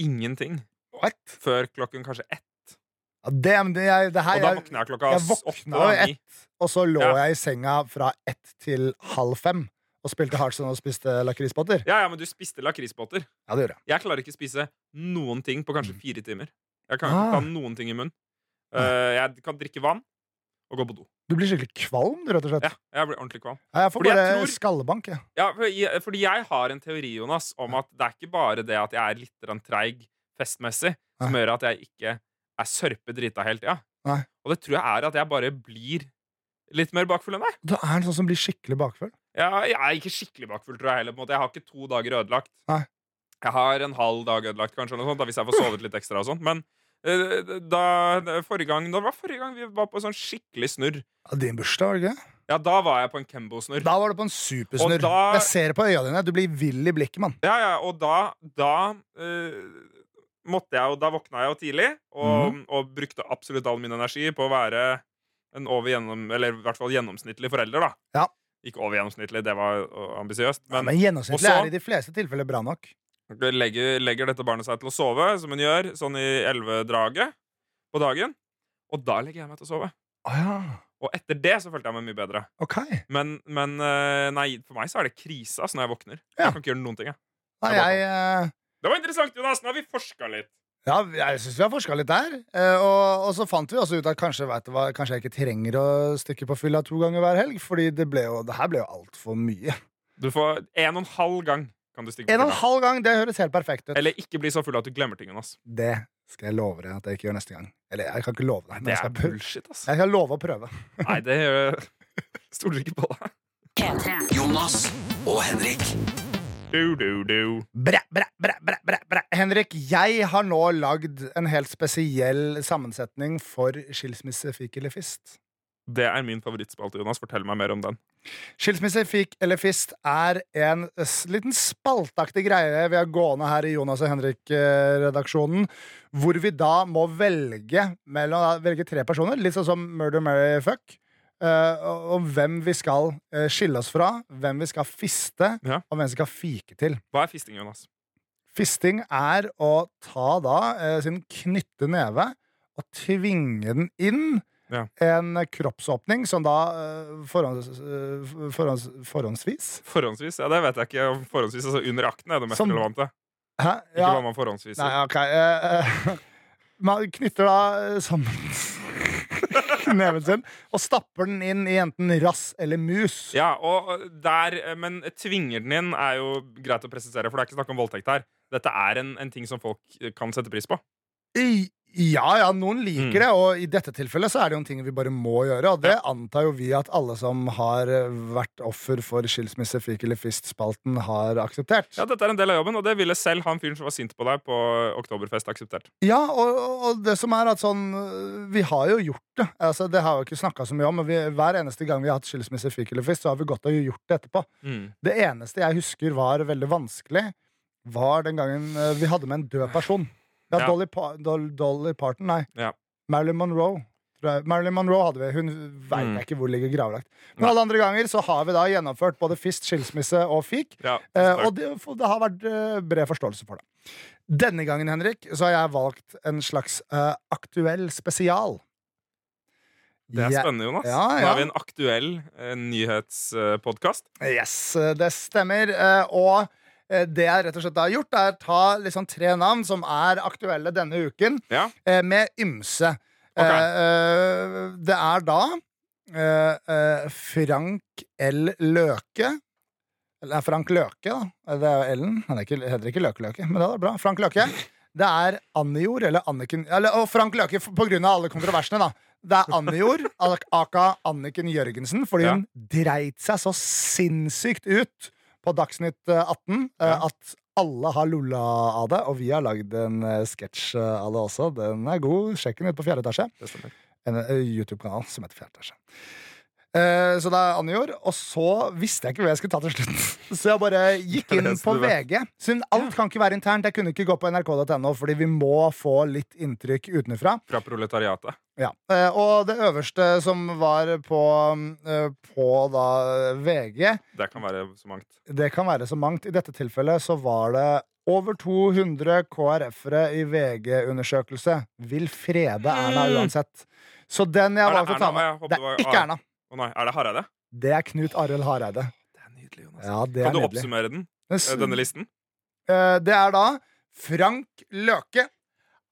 ingenting
What?
før klokken kanskje ett.
Ja, det, men det, jeg, det her,
Og da
jeg-
våkner jeg klokka
jeg
s-
våkna
åtte eller
jo
ni.
Og så lå
Ja.
jeg i senga fra ett til halv fem og spilte Heartstone og spiste lakrisbåter.
Ja, ja, men du spiste lakrisbåter.
Ja, det gjorde jeg.
Jeg klarer ikke spise noen ting på kanskje fire timer. Jeg kan
Mm. Ah.
ikke ta noen ting i munnen. Eh, jeg kan drikke vann og gå på do.
Du blir skikkelig kvalm, du, rett og slett.
Ja, jeg blir ordentlig kvalm.
Ja, Jeg får
Fordi jeg
bare
tror-
skallebank, jeg.
Ja, for- jeg- fordi jeg har en teori, Jonas, om at det er ikke bare det at jeg er litt grann treig festmessig, som
Nei.
gjør at jeg ikke er sørpedrita hele tida.
Nei.
Og det tror jeg er at jeg bare blir litt mer bakfull enn deg.
Du er en sånn som blir skikkelig bakfull.
Jeg, jeg er ikke skikkelig bakfull, tror jeg heller. på en måte. Jeg har ikke to dager ødelagt.
Nei.
Jeg har en halv dag ødelagt, kanskje, eller noe sånt, da, hvis jeg får sovet litt ekstra og sånn. Men eh, da, da- forrige gang, da var forrige gang vi var på sånn skikkelig snurr.
Ja, din bursdag, var det ikke?
Ja, da var jeg på en Kembo-snurr.
Da var du på en supersnurr.
Og da-
Jeg ser det på øya dine. Du blir vill i blikket, mann.
Ja, ja, og da, da eh, måtte jeg jo Da våkna jeg jo tidlig, og,
Mhm.
og brukte absolutt all min energi på å være en over gjennom, eller i hvert fall gjennomsnittlig forelder, da.
Ja.
Ikke over gjennomsnittlig, det var uh, ambisiøst,
Men,
men
gjennomsnittlig
også-
er i de fleste tilfeller bra nok.
legger, legger dette barnet seg til å sove, som hun gjør, sånn i elvedraget på dagen. Og da legger jeg meg til å sove.
Å ja.
Og etter det så følte jeg meg mye bedre.
Ok. Nei,
Men, men eh, nei, for meg så er det krise ass, når jeg våkner.
Ja.
Jeg kan ikke gjøre noen ting. Jeg.
jeg eh,
Det var interessant, Jonas! Nå har vi forska litt.
Ja, jeg syns vi har forska litt der. Eh, og, og så fant vi også ut at kanskje, vet du hva, kanskje jeg ikke trenger å stikke på fylla to ganger hver helg, Fordi det, ble jo, det her ble jo altfor mye.
Du får en og en halv gang kan du stikke
En
på
og en
fylla.
halv gang, det høres helt perfekt ut.
Eller ikke bli så full at du glemmer ting. Jonas.
Det skal jeg love deg at jeg ikke gjør neste gang. Eller jeg kan ikke love deg, men
Det
jeg
er
skal, prø-
bullshit, ass.
jeg skal love å prøve.
Nei, det gjør Stoler ikke på deg.
Jonas og Henrik.
Du, du, du.
Bræ, bræ, bræ, bræ, bræ, bræ. Henrik, jeg har nå lagd en helt spesiell sammensetning for skilsmisse, fikk eller fist.
Det er min favorittspalte, Jonas. Fortell meg mer om den.
Skilsmisse, fikk eller fist er en s- liten spaltaktig greie vi har gående her i Jonas og Henrik-redaksjonen, hvor vi da må velge mellom velge tre personer, litt sånn som Murder, Marry, Fuck, eh, og- om hvem vi skal eh, skille oss fra, hvem vi skal fiste,
Ja.
og hvem vi skal fike til.
Hva er fisting, Jonas?
Fisting er å ta da eh, sin knytte neve og tvinge den inn
Ja.
en kroppsåpning som da eh, forhånds, eh, forhånds, forhåndsvis
Forhåndsvis? Ja, det vet jeg ikke. Forhåndsvis, altså Under akten er det mest
Som-
relevante.
Hæ?
Ikke hva man forhåndsviser.
Nei, ok. eh, eh, man knytter da eh, sammen neven sin og stapper den inn i enten rass eller mus.
Ja, og der, Men tvinger den inn er jo greit å presisere, for det er ikke snakk om voldtekt her. Dette er en, en ting som folk eh, kan sette pris på.
I- Ja, ja, noen liker
Mm.
det, og i dette tilfellet så er det jo en ting vi bare må gjøre, og det antar jo vi at alle som har eh, vært offer for skilsmisse, fik eller fist-spalten, har akseptert.
Ja, Dette er en del av jobben, og det ville selv han fyren som var sint på deg på Oktoberfest, akseptert.
Ja, og, og- og det som er at sånn øh, Vi har jo gjort det. Altså, det har vi ikke snakka så mye om, men vi, hver eneste gang vi har hatt skilsmisse, fikk eller fist, så har vi godt av å gjort det etterpå. Det eneste jeg husker var veldig vanskelig, var den gangen øh, vi hadde med en død person. Ja,
Ja.
Dolly, pa Dol Dolly Parton, nei.
Ja.
Marilyn Monroe. tror jeg. Marilyn Monroe hadde vi. Hun veit
Mm.
jeg ikke hvor ligger gravlagt. Men
Nei.
alle andre ganger så har vi da gjennomført både fist, skilsmisse og fik.
Ja,
Eh,
takk.
og det, for det har vært eh, bred forståelse for det. Denne gangen Henrik, så har jeg valgt en slags eh, aktuell spesial.
det er
Jeg-
spennende, Jonas.
Ja,
Nå
ja.
har vi en aktuell eh, nyhetspodkast.
Yes, eh, det stemmer. Eh, og eh, det jeg rett og slett har gjort, er ta liksom tre navn som er aktuelle denne uken,
Ja.
eh, med ymse.
Ok.
Eh, eh, det er da eh, eh, Frank L. Løke. Eller er Frank Løke, da. Eh, Det er jo L-en. Han er ikke, heter ikke Løke-Løke, men det er bra. Frank Løke. Det er Annijord, eller Anniken eller, Og Frank Løke, f- på grunn av alle kontroversene, da. Det er Annijord, al- aka Anniken Jørgensen, fordi
Ja.
hun dreit seg så sinnssykt ut på Dagsnytt eh, 18 eh,
Ja.
at alle har lulla av det. Og vi har lagd en eh, sketsj eh, av det også. Den er god. Sjekk den ut på fjerde etasje
Det stemmer.
en eh, YouTube-kanal som heter Fjerde etasje. Eh, så det er Anjor. Og så visste jeg ikke hva jeg skulle ta til slutt. Så jeg bare gikk inn
Leste
på
du det?
VG. Siden alt kan ikke være internt. Jeg kunne ikke gå på nrk.no, fordi vi må få litt inntrykk utenfra.
Fra proletariatet.
Ja. eh, og det øverste som var på, eh, på da eh, VG,
Det kan være så mangt.
det kan være så mangt. I dette tilfellet så var det over 200 KrF-ere i VG-undersøkelse. Vil frede Erna
Mm.
uansett. Så den jeg
Er det
valgte å ta
Erna? Jeg
med
håper
Det
det var
er ikke
Ar-
Erna.
Å nei, Er det Hareide?
Det er Knut Arild Hareide.
Det er nydelig, Jonas.
Ja, det
Kan
er
du
nydelig.
oppsummere den? eh, Denne listen?
Eh, Det er da Frank Løke,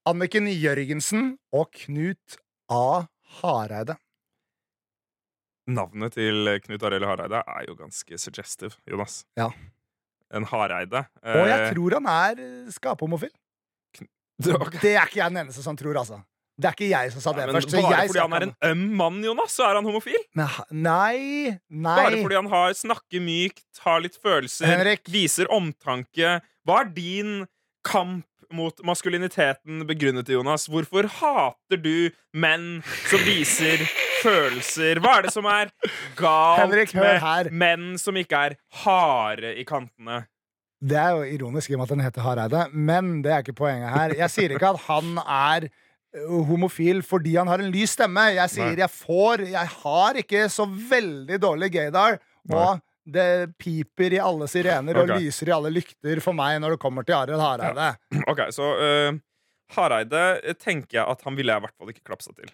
Anniken Jørgensen og Knut A. Hareide.
Navnet til eh, Knut Arild Hareide er jo ganske suggestive, Jonas.
Ja.
En Hareide. eh,
Og jeg tror han er skaphomofil.
tror
Det er ikke jeg den eneste som tror, altså. Det er ikke jeg som sa det
Men
først. så
bare
jeg
fordi
sa
han er en øm mann, Jonas, så er han homofil?
Men ha- Nei,
Bare
nei.
fordi han har snakker mykt, har litt følelser,
Henrik.
viser omtanke. Hva er din kamp mot maskuliniteten begrunnet i, Jonas? Hvorfor hater du menn som viser følelser? Hva er det som er galt
Henrik, hør her.
med menn som ikke er harde i kantene?
Det er jo ironisk i og med at han heter Hareide, men det er ikke poenget her. Jeg sier ikke at han er ø, homofil fordi han har en lys stemme. Jeg sier
Nei.
jeg får Jeg har ikke så veldig dårlig gaydar, og det piper i alle sirener og
Ok.
lyser i alle lykter for meg når det kommer til Arild Hareide.
Ok, så eh, Hareide eh, tenker jeg at han ville jeg i hvert fall ikke klapsa til.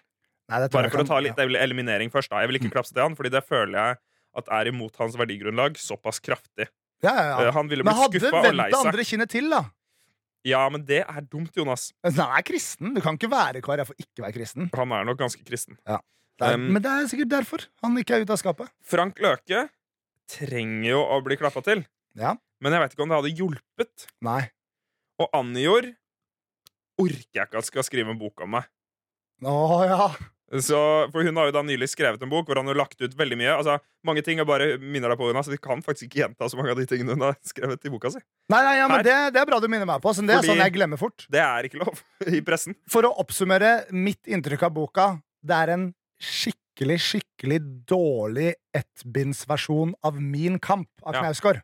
Nei, det tror jeg Mm.
Bare for
kan-
å ta litt eliminering først. da Jeg vil ikke klapse til han, fordi det føler jeg at er imot hans verdigrunnlag såpass kraftig.
ja, ja,
Eh,
ja.
Han ville
Men
blitt
hadde
skuffa og
vendt
lei
det
seg.
andre kinnet til, da.
Ja, men det er dumt, Jonas.
Altså, Han er kristen. Du kan ikke være KrF og ikke være kristen.
Han er nok ganske kristen.
Det er,
Um,
men det er sikkert derfor han ikke er ute av skapet.
Frank Løke trenger jo å bli klappa til,
Ja.
men jeg veit ikke om det hadde hjulpet.
Nei.
Og Anjor orker jeg ikke at skal skrive en bok om meg.
Å ja.
Så, for hun har jo da nylig skrevet en bok hvor han har lagt ut veldig mye. Altså, mange ting jeg bare minner deg på, Jonas. Vi kan faktisk ikke gjenta så mange av de tingene hun har skrevet i boka si.
Nei, nei, ja, men
Her.
det, det er bra du minner meg på. Så det er
Fordi-
sånn jeg glemmer fort.
Det er ikke lov i pressen.
For å oppsummere mitt inntrykk av boka, det er en skikkelig, skikkelig dårlig ettbindsversjon av Min kamp av
Ja.
Knausgård.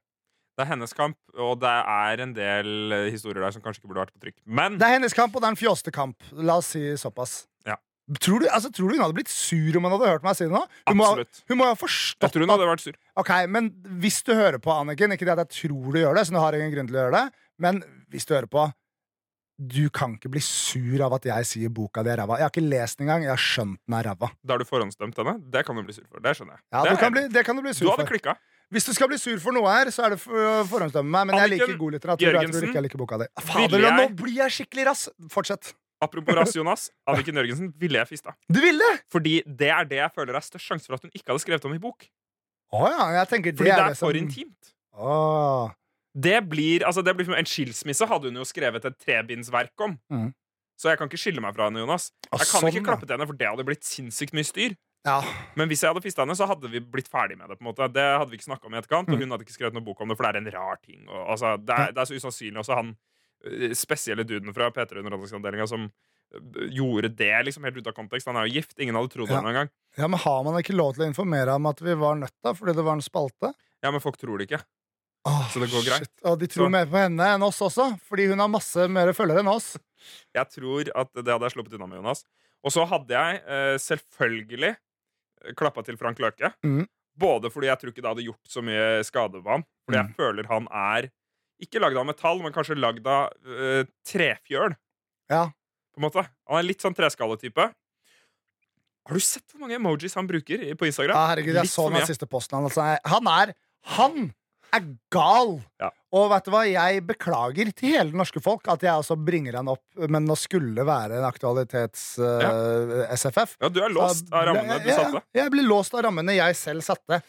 Det er hennes kamp, og det er en del eh, historier der som kanskje ikke burde vært på trykk. Men
Det er hennes kamp, og det er en fjåste kamp. La oss si såpass.
Ja.
Tror, du, altså, tror du hun hadde blitt sur om hun hadde hørt meg si det nå? Hun må,
absolutt.
hun må jo ha
Jeg
forstått
tror hun hadde vært sur.
Ok, men hvis du hører på, Anniken Ikke det at jeg tror du gjør det, så du har ingen grunn til å gjøre det Men hvis du hører på Du kan ikke bli sur av at jeg sier boka di er ræva Jeg har ikke lest den engang, jeg har skjønt den er ræva
Da har du forhåndsdømt henne. Det kan du bli sur for. Det skjønner jeg.
ja,
det
det,
er
kan
jeg
bli,
enig i.
det kan du bli sur
du hadde
for
klikka.
Hvis du skal bli sur for noe her, så er det for, forhåndsdømme meg Men jeg
Anniken
liker god litteratur, og jeg tror
Jørgensen,
ikke jeg liker boka di Fader,
ville
nå
jeg-
blir jeg skikkelig rass Fortsett
Apropos rass, Jonas. Anniken Jørgensen ville jeg fista.
Du vil det?
Fordi det er det jeg føler er størst sjanse for at hun ikke hadde skrevet om i bok.
Åja, jeg tenker det
Fordi det
er
er
det som
for intimt.
Åh,
Det blir, altså det blir En skilsmisse hadde hun jo skrevet et trebindsverk om.
Mhm.
Så jeg kan ikke skille meg fra henne, Jonas.
Ah,
Jeg kan
sånn,
ikke klappe til henne, for det hadde blitt sinnssykt mye styr.
ja.
Men hvis jeg hadde fista henne, så hadde vi blitt ferdig med det. på en måte Det hadde vi ikke snakket om i etterkant, og hun hadde ikke skrevet noen bok om det, for det er en rar ting. Og, altså, det, er, det er så usannsynlig også han øh, spesielle duden fra P3 Underholdningsavdelinga som øh, gjorde det liksom helt ut av kontekst. Han er jo gift, ingen hadde trodd
Ja.
det engang.
ja, men har man ikke lov til å informere om at vi var nødt da Fordi det var en spalte?
Ja, men folk tror det ikke.
Åh,
Så det går
Ah,
greit.
shit. Og de tror
Så-
mer på henne enn oss også, fordi hun har masse mer følgere enn oss.
Jeg tror at det hadde jeg sluppet unna med, Jonas. Og så hadde jeg eh, selvfølgelig klappa til Frank Løke.
Mhm.
Både fordi jeg tror ikke det hadde gjort så mye skade på ham. Fordi
Mm.
jeg føler han er ikke lagd av metall, men kanskje lagd av eh, trefjøl.
Ja.
På en måte. Han er litt sånn treskalletype. Har du sett hvor mange emojis han bruker i- på Instagram?
Ja, Ah, herregud, jeg
Litt
så
for
den
mye.
siste posten hans. Nei, Han er Han er gal!
Ja.
Og vet du hva, jeg beklager til hele det norske folk at jeg også bringer han opp, men nå skulle det være en eh, aktualitets-SFF.
Ja, du er låst av rammene du satte.
Jeg, jeg blir låst av rammene jeg selv satte.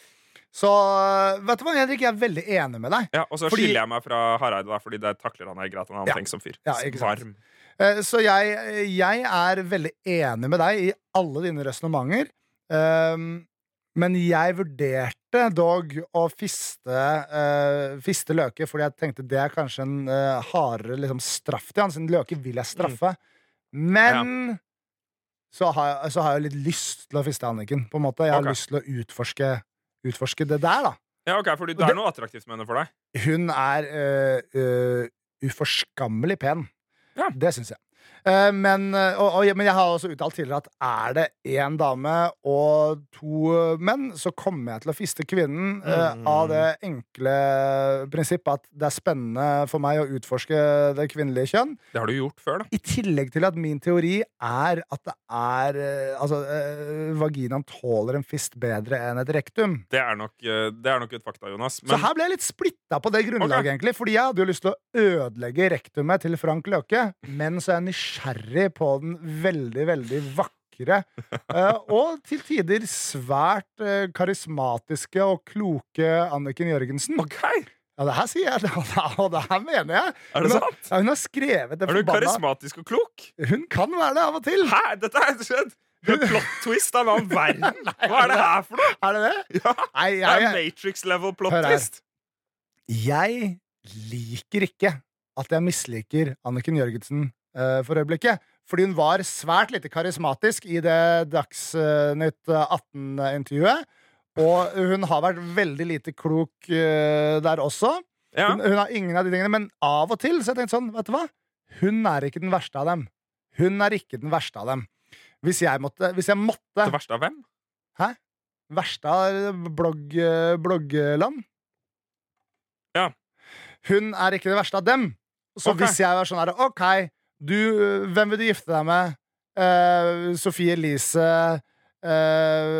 Så eh, vet du hva, Henrik, jeg er veldig enig med deg.
Ja, og så
Fordi-
skiller jeg meg fra Hareide, da, fordi det takler han helt greit. Han er
Ja.
omtenkt som fyr.
Ja, ikke sant.
Varm.
Eh, Så jeg, jeg er veldig enig med deg i alle dine resonnementer. Ehm, men jeg vurderte dog å fiste, eh, fiste Løke, fordi jeg tenkte det er kanskje en eh, hardere liksom, straff til han, siden Løke vil jeg straffe. Men så, har jeg, så har jeg litt lyst til å fiste Anniken, på en måte. Jeg har
Ok.
lyst til å utforske, utforske det der, da.
Ja, ok, fordi det
Og
er
det-
noe attraktivt med henne for deg.
Hun er øh, øh, uforskammelig pen.
Ja.
Det syns jeg. Eh, men, øh, og, og, men jeg har også uttalt tidligere at er det én dame og to øh, menn, så kommer jeg til å fiste kvinnen eh,
Mm.
av det enkle prinsippet at det er spennende for meg å utforske det kvinnelige kjønn.
Det har du gjort før, da.
I tillegg til at min teori er at det er eh, Altså, eh, vaginaen tåler en fist bedre enn et rektum.
Det er nok, eh, det er nok et fakta, Jonas.
Så
Men
her ble jeg litt splitta på det grunnlaget,
Ok.
egentlig. Fordi jeg hadde jo lyst til å ødelegge rektumet til Frank Løke, men så er jeg nysgjerrig på den veldig, veldig vakre eh, og til tider svært eh, karismatiske og kloke Anniken Jørgensen.
OK!
Ja, det her sier jeg, og det her mener jeg.
Er det
Men-
sant?
Ja, hun har skrevet det
Er du
forbanna
karismatisk og klok?
Hun kan være det av og til.
Hæ? Dette er skjedd! Det er Plot twist av en annen verden! Hva er det her for noe?!
Er det det?
Ja,
Nei,
det er
jeg,
Matrix-level plot
Hør her.
twist!
Jeg liker ikke at jeg misliker Anniken Jørgensen eh, for øyeblikket. Fordi hun var svært lite karismatisk i det Dagsnytt 18-intervjuet. Og hun har vært veldig lite klok eh, der også.
Ja.
Hun, hun har ingen av de tingene, men av og til så har jeg tenkt sånn, vet du hva? Hun er ikke den verste av dem. Hun er ikke den verste av dem. Hvis jeg måtte, hvis jeg måtte
Det verste av hvem?
Verste av blogg, bloggland.
Ja.
Hun er ikke det verste av dem. Så
Ok.
hvis jeg var sånn her OK, du, eh, hvem vil du gifte deg med? Eh, Sofie Elise eh,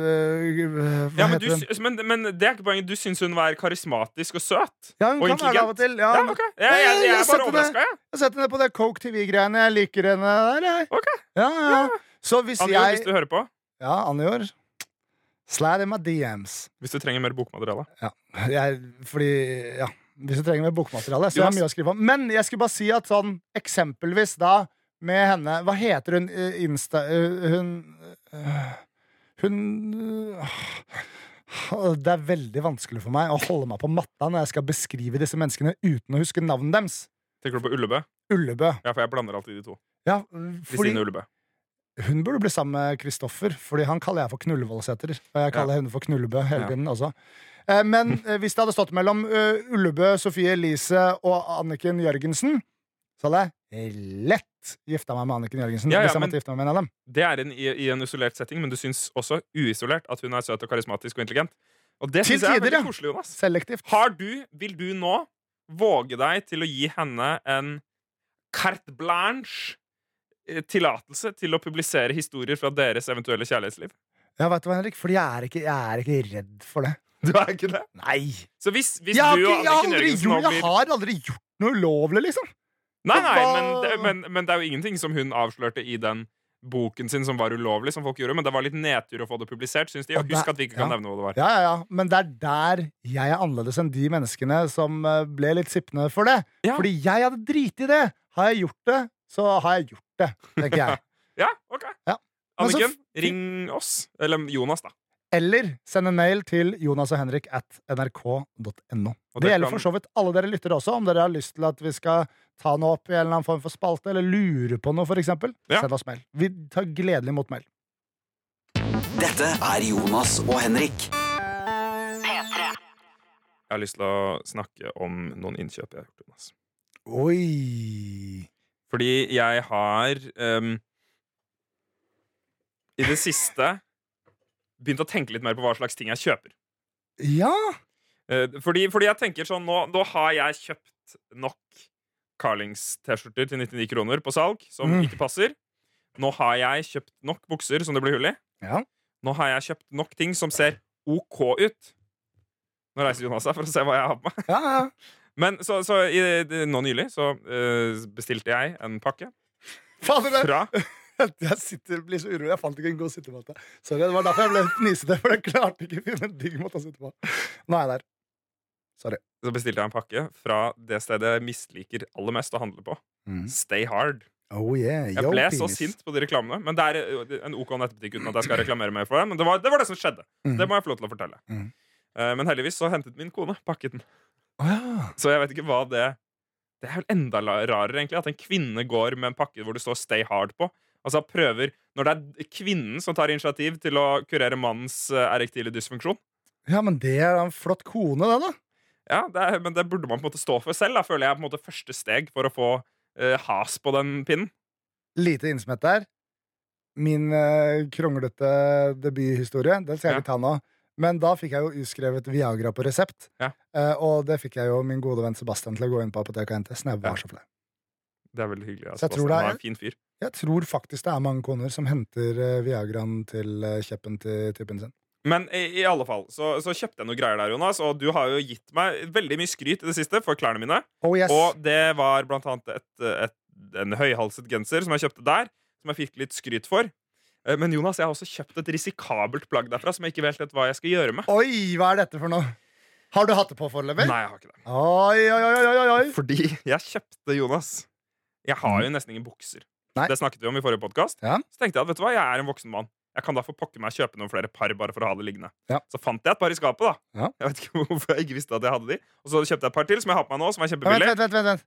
Hva
Ja, men, du,
heter hun?
sy- men, men det er ikke poenget. Du syns hun var karismatisk og søt?
Ja, hun
og
kan være det av og til. Ja,
Ja,
men-
ok. Jeg, jeg, jeg,
jeg
er
setter
bare
det-
overraska, jeg.
Jeg setter henne på det Coke TV-greiene. Jeg liker henne der, jeg.
Ok.
Ja, ja. Så hvis
Anjo,
jeg
hvis du hører på.
Ja, Anjor. Slide in my DMs.
Hvis du trenger mer bokmateriale.
jeg, fordi, ja Hvis du trenger mer bokmateriale, så jeg har
Jonas.
mye å skrive om. Men jeg skulle bare si at sånn eksempelvis da med henne Hva heter hun eh, Insta... eh, Hun øh, Hun øh, Det er veldig vanskelig for meg å holde meg på matta når jeg skal beskrive disse menneskene uten å huske navnet deres.
Tenker du på Ullebø?
Ullebø.
Ja, for jeg blander alltid de to.
Ja, fordi
Kristine Ullebø.
hun burde bli sammen med Kristoffer, Fordi han kaller jeg for Knullevoldsæter. Og jeg kaller henne for Knullebø hele
Ja.
tiden også. Eh, Men eh, hvis det hadde stått mellom eh, Ullebø, Sofie Elise og Anniken Jørgensen, så hadde jeg lett gifta meg med Anniken Jørgensen.
Ja, ja,
hvis jeg
men-
måtte gifte meg med en av dem.
Det er en, i, i en isolert setting, men du syns også uisolert at hun er søt og karismatisk og intelligent. Og det
Til
syns jeg er
tider,
veldig
ja.
koselig, Jonas.
Selektivt.
Har du, vil du nå våge deg til å gi henne en carte blanche eh, tillatelse til å publisere historier fra deres eventuelle kjærlighetsliv?
Ja, vet du hva, Henrik? Fordi jeg er ikke, jeg er ikke redd for det.
Du er ikke det?
Nei.
Så hvis, hvis
Jeg har,
du
ikke,
og
jeg, har
Anniken
aldri
Jørgensen nå
gjort, jeg
blir
har aldri gjort noe ulovlig, liksom.
Nei, nei,
Hva-
men det, men, men det er jo ingenting som hun avslørte i den boken sin som var ulovlig, som folk gjorde, men det var litt nedtur å få det publisert, syns de. Og
Og det-
husk at vi ikke kan
ja.
nevne hva det var.
Ja, ja, ja. Men det er der jeg er annerledes enn de menneskene som eh, ble litt sippende for det.
Ja.
Fordi jeg hadde driti i det. Har jeg gjort det, så har jeg gjort det, tenker jeg.
Ja, ok.
Ja. Men så
Anniken,
f-
ring oss. Eller Jonas, da.
Eller send en mail til jonas og henrik at nrk.no.
Og
Det
det
gjelder
kan-
for så vidt alle dere lyttere også, om dere har lyst til at vi skal ta noe opp i en eller annen form for spalte, eller lure på noe, for eksempel.
Ja.
Send oss mail. Vi tar gledelig imot mail.
Dette er Jonas og Henrik.
Jeg har lyst til å snakke om noen innkjøp jeg har gjort. Jonas.
Oi!
Fordi jeg har ehm, i det siste begynt å tenke litt mer på hva slags ting jeg kjøper.
Ja!
Eh, fordi, fordi jeg tenker sånn, nå, nå har jeg kjøpt nok Carlings-T-skjorter til 99 kroner på salg, som
Mm.
ikke passer. Nå har jeg kjøpt nok bukser som det blir hull i.
Ja.
Nå har jeg kjøpt nok ting som ser OK ut. Nå reiser Jonas seg for å se hva jeg har på meg.
ja, ja.
Men så, så i, nå nylig så eh, bestilte jeg en pakke
Fader, det-
fra
Jeg sitter, blir så urolig. Jeg fant ikke en god sittematte. Sorry, Det var derfor jeg ble fnisete, for jeg klarte ikke å finne en digg måte å sitte på. Nå er jeg der.
Så bestilte jeg en pakke fra det stedet jeg misliker aller mest å handle på. Stay Hard.
Oh yeah,
Jeg
Mm. yo,
ble så
penis.
sint på de reklamene. Men det er eh, en OK nettbutikk uten at jeg skal reklamere mer for det. Men det var det, var det som skjedde.
Mhm.
Det må jeg få lov til å fortelle.
Mhm.
Eh, Men heldigvis så hentet min kone pakken.
Å ja.
Så jeg vet ikke hva det Det er vel enda la- rarere, egentlig, at en kvinne går med en pakke hvor det står Stay Hard på. Altså prøver Når det er kvinnen som tar initiativ til å kurere mannens eh, erektile dysfunksjon.
ja, men det er en flott kone, det, da.
Ja, det er, Men det burde man på en måte stå for selv, da, føler jeg. på en måte Første steg for å få eh, has på den pinnen.
Lite innsmett der. Min eh, kronglete debuthistorie. Den skal jeg
Ja.
ikke ta nå. Men da fikk jeg jo utskrevet Viagra på resept.
Ja.
Eh, og det fikk jeg jo min gode venn Sebastian til å gå inn på apoteket og hente. Så jeg
Ja.
var så flau.
Det er veldig hyggelig.
Så jeg tror
Sebastian.
det er-
Han er en fin fyr.
Jeg tror faktisk det er mange koner som henter eh, Viagraen til eh, kjeppen til typen sin.
Men i, i alle fall, så, så kjøpte jeg noen greier der, Jonas, og du har jo gitt meg veldig mye skryt i det siste for klærne mine.
Oh yes!
Og det var blant annet et, et, en høyhalset genser som jeg kjøpte der, som jeg fikk litt skryt for. Eh, Men Jonas, jeg har også kjøpt et risikabelt plagg derfra som jeg ikke helt vet hva jeg skal gjøre med.
Oi, hva er dette for noe? Har du hatt det på foreløpig?
Nei, jeg har ikke det.
Oi, oi, oi, oi, oi, oi.
Fordi jeg kjøpte Jonas. Jeg har jo nesten ingen bukser.
Nei.
Det snakket vi om i forrige podkast.
Ja.
Så tenkte jeg at vet du hva, jeg er en voksen mann. Jeg kan da for pokker meg kjøpe noen flere par bare for å ha det liggende.
Ja.
Så fant jeg et par i skapet, da.
Ja.
Jeg vet ikke hvorfor jeg ikke visste at jeg hadde de. Og så kjøpte jeg et par til som jeg har på meg nå, som er
Ja, Vent,
kjempebillig.
vent, vent, vent, vent.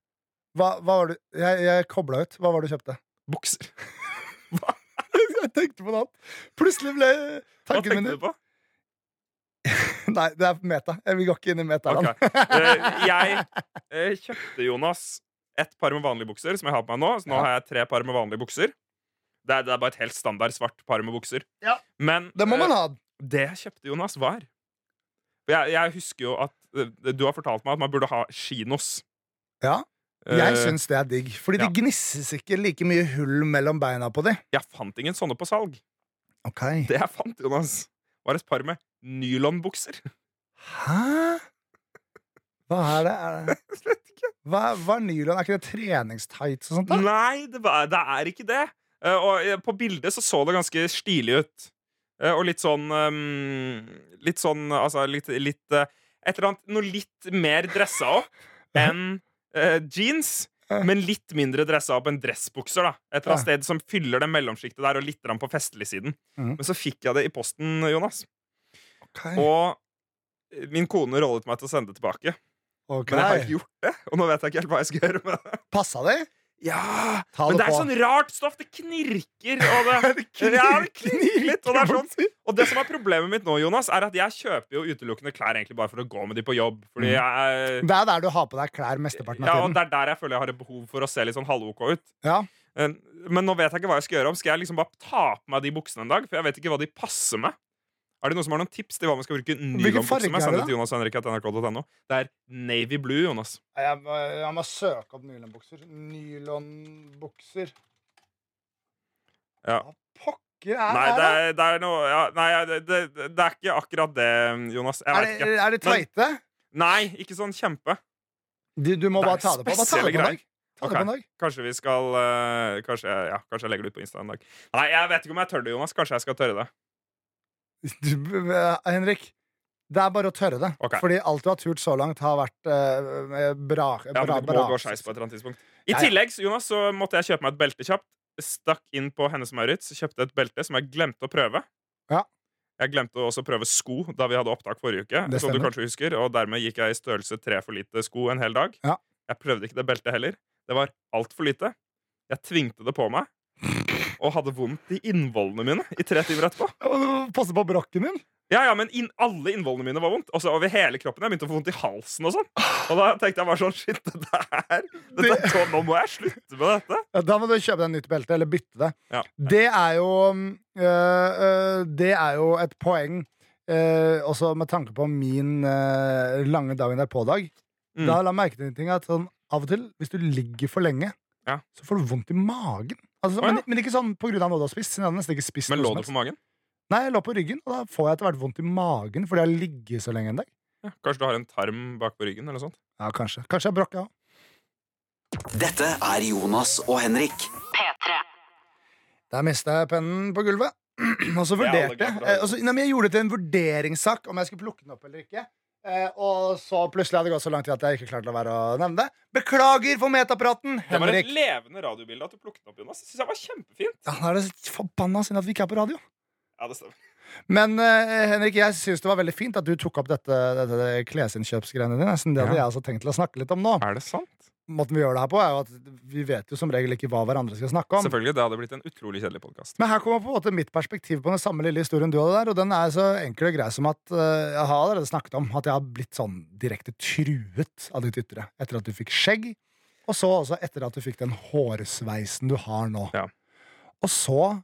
Hva, hva var du? Jeg, jeg kobla ut. Hva var det du kjøpte?
Bukser.
jeg tenkte på noe annet. Plutselig ble
Hva
tanken min
tenkte du på?
Nei, det er meta. Eh, Vi går ikke inn i metaen.
Ok. Eh, jeg eh, kjøpte Jonas et par med vanlige bukser, som jeg har på meg nå. Så nå
Ja.
har jeg tre par med vanlige bukser. Det er, det er bare et helt standard svart par med bukser.
Ja.
Men
Det må
eh,
man ha.
Det jeg kjøpte, Jonas, var For jeg, jeg husker jo at eh, Du har fortalt meg at man burde ha kinos.
Ja.
Eh,
Jeg syns det er digg, fordi
ja.
det gnisses ikke like mye hull mellom beina på de.
Jeg fant ingen sånne på salg.
Ok.
Det jeg fant, Jonas, var et par med nylonbukser.
Hæ? Hva er det? Er det?
Jeg vet ikke. Mm.
Hva, hva er nylon? Er ikke det treningstights og sånt? da?
Nei, det, var, det er ikke det. Eh, og eh, på bildet så så det ganske stilig ut. Eh, og litt sånn eh, Litt sånn Altså litt, litt eh, Et eller annet Noe litt mer dressa opp enn eh, jeans. men litt mindre dressa opp enn dressbukser. da Et eller annet sted som fyller det mellomsjiktet der, og litt grann på festligsiden.
Mhm.
Men så fikk jeg det i posten, Jonas.
Ok.
Og eh, min kone rollet meg til å sende det tilbake.
Ok.
Men jeg har ikke gjort det, og nå vet jeg ikke helt hva jeg skal gjøre med det.
Passa det?
Ja,
Ta
Men
det
det er
på.
sånn rart stoff. Det knirker. Og det, ja, det knirker litt, og det er sånn og det som er problemet mitt nå, Jonas, er at jeg kjøper jo utelukkende klær egentlig bare for å gå med de på jobb.
Mm.
Fordi jeg
Det er der du har på deg klær mesteparten
ja,
av
og
tiden.
Det er der jeg føler jeg har et behov for å se litt sånn halv-OK ut.
Ja.
Eh, Men nå vet jeg ikke hva jeg skal gjøre om. Skal jeg liksom bare ta på meg de buksene en dag? For jeg vet ikke hva de passer med. Er det noen som har noen tips til hva man skal bruke
Hvilken farge
nylonbukse med?
er
Send
det
det til Jonas Henrik at nrk.no. Det er navy blue, Jonas.
Jeg, må, jeg må søke opp nylonbukser. Nylonbukser
Ja.
Hva pokker er,
Nei,
det
det
her,
er, det er noe ja, Nei, det, det, det er ikke akkurat det, Jonas.
da?
Jeg vet
Er
ikke.
det, er det
Men-
tveite?
Nei, ikke sånn kjempe.
Du, du må
Det er
bare ta det på. Bare ta
spesielle
det på en dag. Ta det
Ok.
på en dag.
Kanskje vi skal eh, kanskje, ja, kanskje jeg legger det ut på Insta en dag. Nei, jeg vet ikke om jeg tør det, Jonas. Kanskje jeg skal tørre det.
Du, eh, Henrik, det er bare å tørre det.
Ok.
Fordi alt du har turt så langt, har vært eh, bra.
Ja,
bra,
men det
bra.
må gå skeis på et eller annet tidspunkt. I
Ja, ja.
tillegg så, Jonas, så måtte jeg kjøpe meg et belte kjapt. Stakk inn på Hennes Maurits, kjøpte et belte som jeg glemte å prøve.
Ja.
Jeg glemte å også prøve sko da vi hadde opptak forrige uke.
Det
som du
stemmer.
kanskje husker Og dermed gikk jeg i størrelse tre for lite sko en hel dag.
Ja.
Jeg prøvde ikke det beltet heller. Det var altfor lite. Jeg tvingte det på meg. Og hadde vondt i innvollene mine i tre timer etterpå.
Og du må Passe på brokken din.
Ja, ja, men inn, alle innvollene mine var vondt. Også over hele kroppen. Jeg begynte å få vondt i halsen og sånn. Og da tenkte jeg bare sånn Shit, det der dette, er tå- Nå må jeg slutte med dette.
Ja, da må du kjøpe deg en nytt belte, eller bytte det.
Ja.
Det er jo mm, øh, øh, Det er jo et poeng, øh, også med tanke på min øh, lange dagen derpå-dag.
Mm.
Da la jeg merke til en ting at sånn, av og til, hvis du ligger for lenge,
Ja.
så får du vondt i magen. Altså,
Å, ja.
men, men ikke sånn på grunn av noe du har spist. Siden jeg hadde nesten ikke spist
Men
noe
lå
som
det
helst.
på magen?
Nei, jeg lå på ryggen, og da får jeg etter hvert vondt i magen fordi jeg har ligget så lenge en dag.
Ja, kanskje du har en tarm bak på ryggen? eller noe sånt
Ja, kanskje. Kanskje jeg brakk, ja.
Dette er Jonas og Henrik.
Der mista jeg pennen på gulvet. Og så
Det er alle
vurderte
glad
jeg.
for å ha.
eh, og så- Nei, men jeg gjorde det til en vurderingssak om jeg skulle plukke den opp eller ikke. Eh, og så plutselig hadde det gått så lang tid at jeg ikke klarte å være å nevne det. Beklager for metapraten,
Det var et
Henrik.
levende radiobilde at du plukket opp, Jonas. Det synes jeg var kjempefint.
Ja, nå er det så forbanna synd at vi ikke er på radio.
Ja, det stemmer.
Men eh, Henrik, jeg syns det var veldig fint at du tok opp dette, dette klesinnkjøpsgreiene dine. Nesten det hadde jeg også tenkt til å snakke litt om nå.
Er det sant?
Måten vi gjør det her på, er jo at vi vet jo som regel ikke hva hverandre skal snakke om.
Selvfølgelig. Det hadde blitt en utrolig kjedelig podkast.
Men her kommer på en måte mitt perspektiv på den samme lille historien du hadde der, og den er så enkel og grei som at eh, jeg har allerede snakket om at jeg har blitt sånn direkte truet av ditt ytre etter at du fikk skjegg, og så også etter at du fikk den hårsveisen du har nå.
Ja.
Og så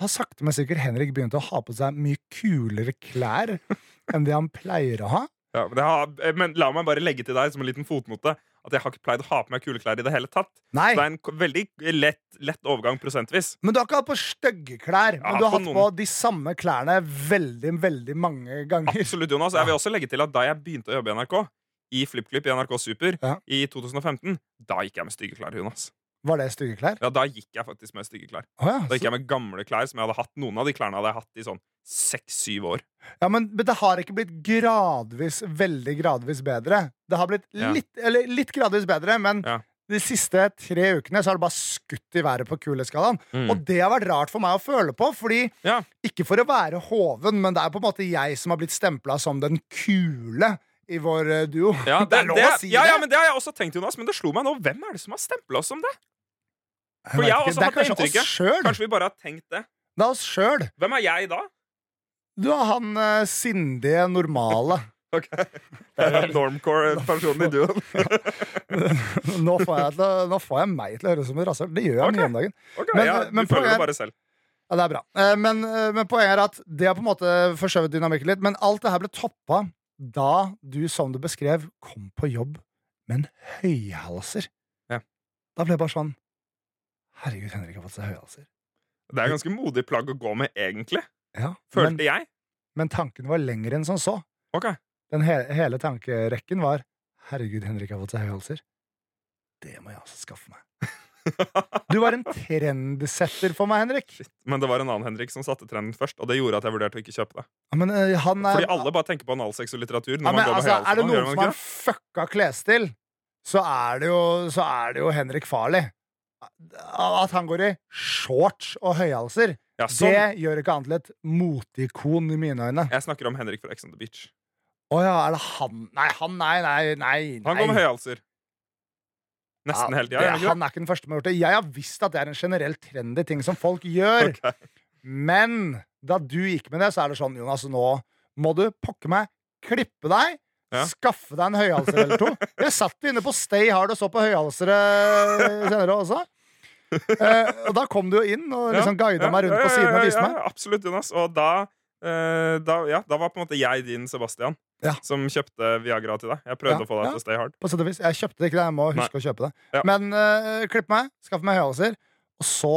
har sakte, men sikkert Henrik begynt å ha på seg mye kulere klær enn det han pleier å ha.
Ja, men, det har, eh, men la meg bare legge til deg som en liten fotnote at jeg har ikke pleid å ha på meg kule klær i det hele tatt.
Nei,
Så det er en k- veldig lett, lett overgang prosentvis.
men du har ikke hatt på stygge klær,
har
men du har
hatt
hatt
på
på de samme klærne veldig, veldig mange ganger.
Absolutt, Jonas. Jeg vil også legge til at da jeg begynte å jobbe i NRK, i FlippKlipp i NRK Super
Ja.
i 2015, da gikk jeg med stygge klær. Jonas.
Var det stygge klær?
Ja, da gikk jeg faktisk med stygge klær.
Å ja,
Da gikk jeg med gamle klær som jeg hadde hatt. Noen av de klærne hadde jeg hatt i sånn seks-syv år.
Ja, men, men det har ikke blitt gradvis, veldig gradvis bedre. Det har blitt
Ja.
litt, eller litt gradvis bedre, men
Ja.
de siste tre ukene så har det bare skutt i været på kuleskalaen.
Mm.
Og det har vært rart for meg å føle på, fordi
Ja.
ikke for å være hoven, men det er på en måte jeg som har blitt stempla som den kule i vår eh, duo.
Ja,
det er lov å si
ja, ja,
det.
men det har jeg også tenkt, Jonas. Men det slo meg nå. Hvem er det som har stempla oss som det?
Jeg
for
vet
jeg har
ikke,
også
det
hatt
er
det
kanskje oss sjøl.
Kanskje vi bare har tenkt det.
Det er oss sjøl.
Hvem er jeg da?
Du er han eh, sindige, normale.
Ok Normcore-personen i duoen.
nå, får jeg til, å- nå får jeg meg til å høres ut som et rasshøl. Det gjør jeg
Ok.
mye om dagen.
Ok,
Men-
ja,
men
du føler
poenget
det
er-
bare selv.
Ja, det er bra. Eh, Men, eh, men poenget er at det har på en måte forskjøvet dynamikken litt. Men alt det her ble toppa da du, som du beskrev, kom på jobb med en høyhalser.
Ja.
Da ble jeg bare sånn Herregud, Henrik har fått seg høyhalser.
Det er ganske modig plagg å gå med, egentlig.
Ja,
Følte
men,
jeg.
men tanken var lengre enn som så.
Ok
Den he hele tankerekken var Herregud, Henrik har fått seg høyhalser. Det må jeg også skaffe meg. Du var en trendsetter for meg, Henrik.
Shit. Men det var en annen Henrik som satte trenden først, og det gjorde at jeg vurderte å ikke kjøpe det.
Ja, Men eh, han er
Fordi alle bare tenker på analsex og litteratur. Når
Ja, men
man går med
altså,
høyhalsen
er det
nå,
noen
gjør
som
man ikke
har fucka klesstil, så er det jo, så er det jo Henrik Farley. At han går i shorts og høyhalser,
Ja, sånn.
det gjør ikke annet til et moteikon i mine øyne.
Jeg snakker om Henrik fra Ex on the Beach.
Å ja, er det han Nei, han, nei, nei. nei,
Han
nei.
går med høyhalser. Nesten hele tida.
det-
er han ikke
Han er ikke den første som har gjort det. Jeg har visst at det er en generell trendy ting som folk gjør.
det? Ok.
Men da du gikk med det, så er det sånn, Jonas, nå må du pokke meg, klippe deg,
Ja.
skaffe deg en høyhalser eller to. Jeg satt jo inne på Stay Hard og så på høyhalsere senere også. Eh, og da kom du jo inn og liksom guida meg rundt på siden og viste
ja,
meg.
ja, absolutt, Jonas. Og da, eh, da, ja, da var på en måte jeg din Sebastian,
Ja.
som kjøpte Viagra til deg. Jeg prøvde
Ja,
å få deg
ja.
til å stay hard.
På sett og vis. Jeg kjøpte det ikke, det. jeg må huske å kjøpe det.
Ja.
Men uh, klipp meg, skaff meg høyhalser, og så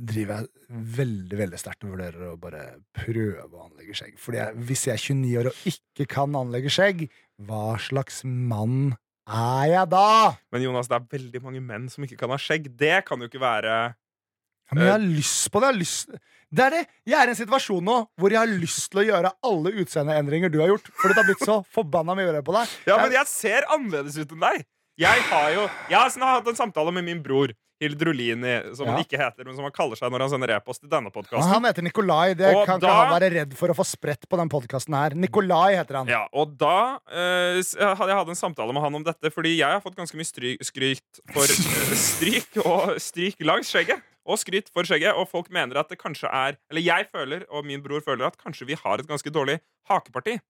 driver jeg veldig veldig sterkt og vurderer å bare prøve å anlegge skjegg. Fordi jeg, hvis jeg er 29 år og ikke kan anlegge skjegg, hva slags mann er jeg da?
Men Jonas, det er veldig mange menn som ikke kan ha skjegg. Det kan jo ikke være
Ja, men jeg har lyst på det. Jeg, har lyst... det er det. jeg er i en situasjon nå hvor jeg har lyst til å gjøre alle utseendeendringer du har gjort. Fordi det har blitt så forbanna mye å gjøre på deg.
Ja, men jeg ser annerledes ut enn deg! Jeg har jo Jeg har sånn- hatt en samtale med min bror, Hild Rulini, som han
Ja.
ikke heter, men som han kaller seg når han sender e-post til denne
Ja,
podkasten.
Han heter Nikolai. Det
Og
kan
da-
ikke han være redd for å få spredt på den podkasten her. Nikolai heter han.
Ja, og da eh, s- hadde jeg hatt en samtale med han om dette, fordi jeg har fått ganske mye stry skryt for eh, stryk og stryk langs skjegget. Og skryt for skjegget, og folk mener at det kanskje er Eller jeg føler, og min bror føler, at kanskje vi har et ganske dårlig hakeparti.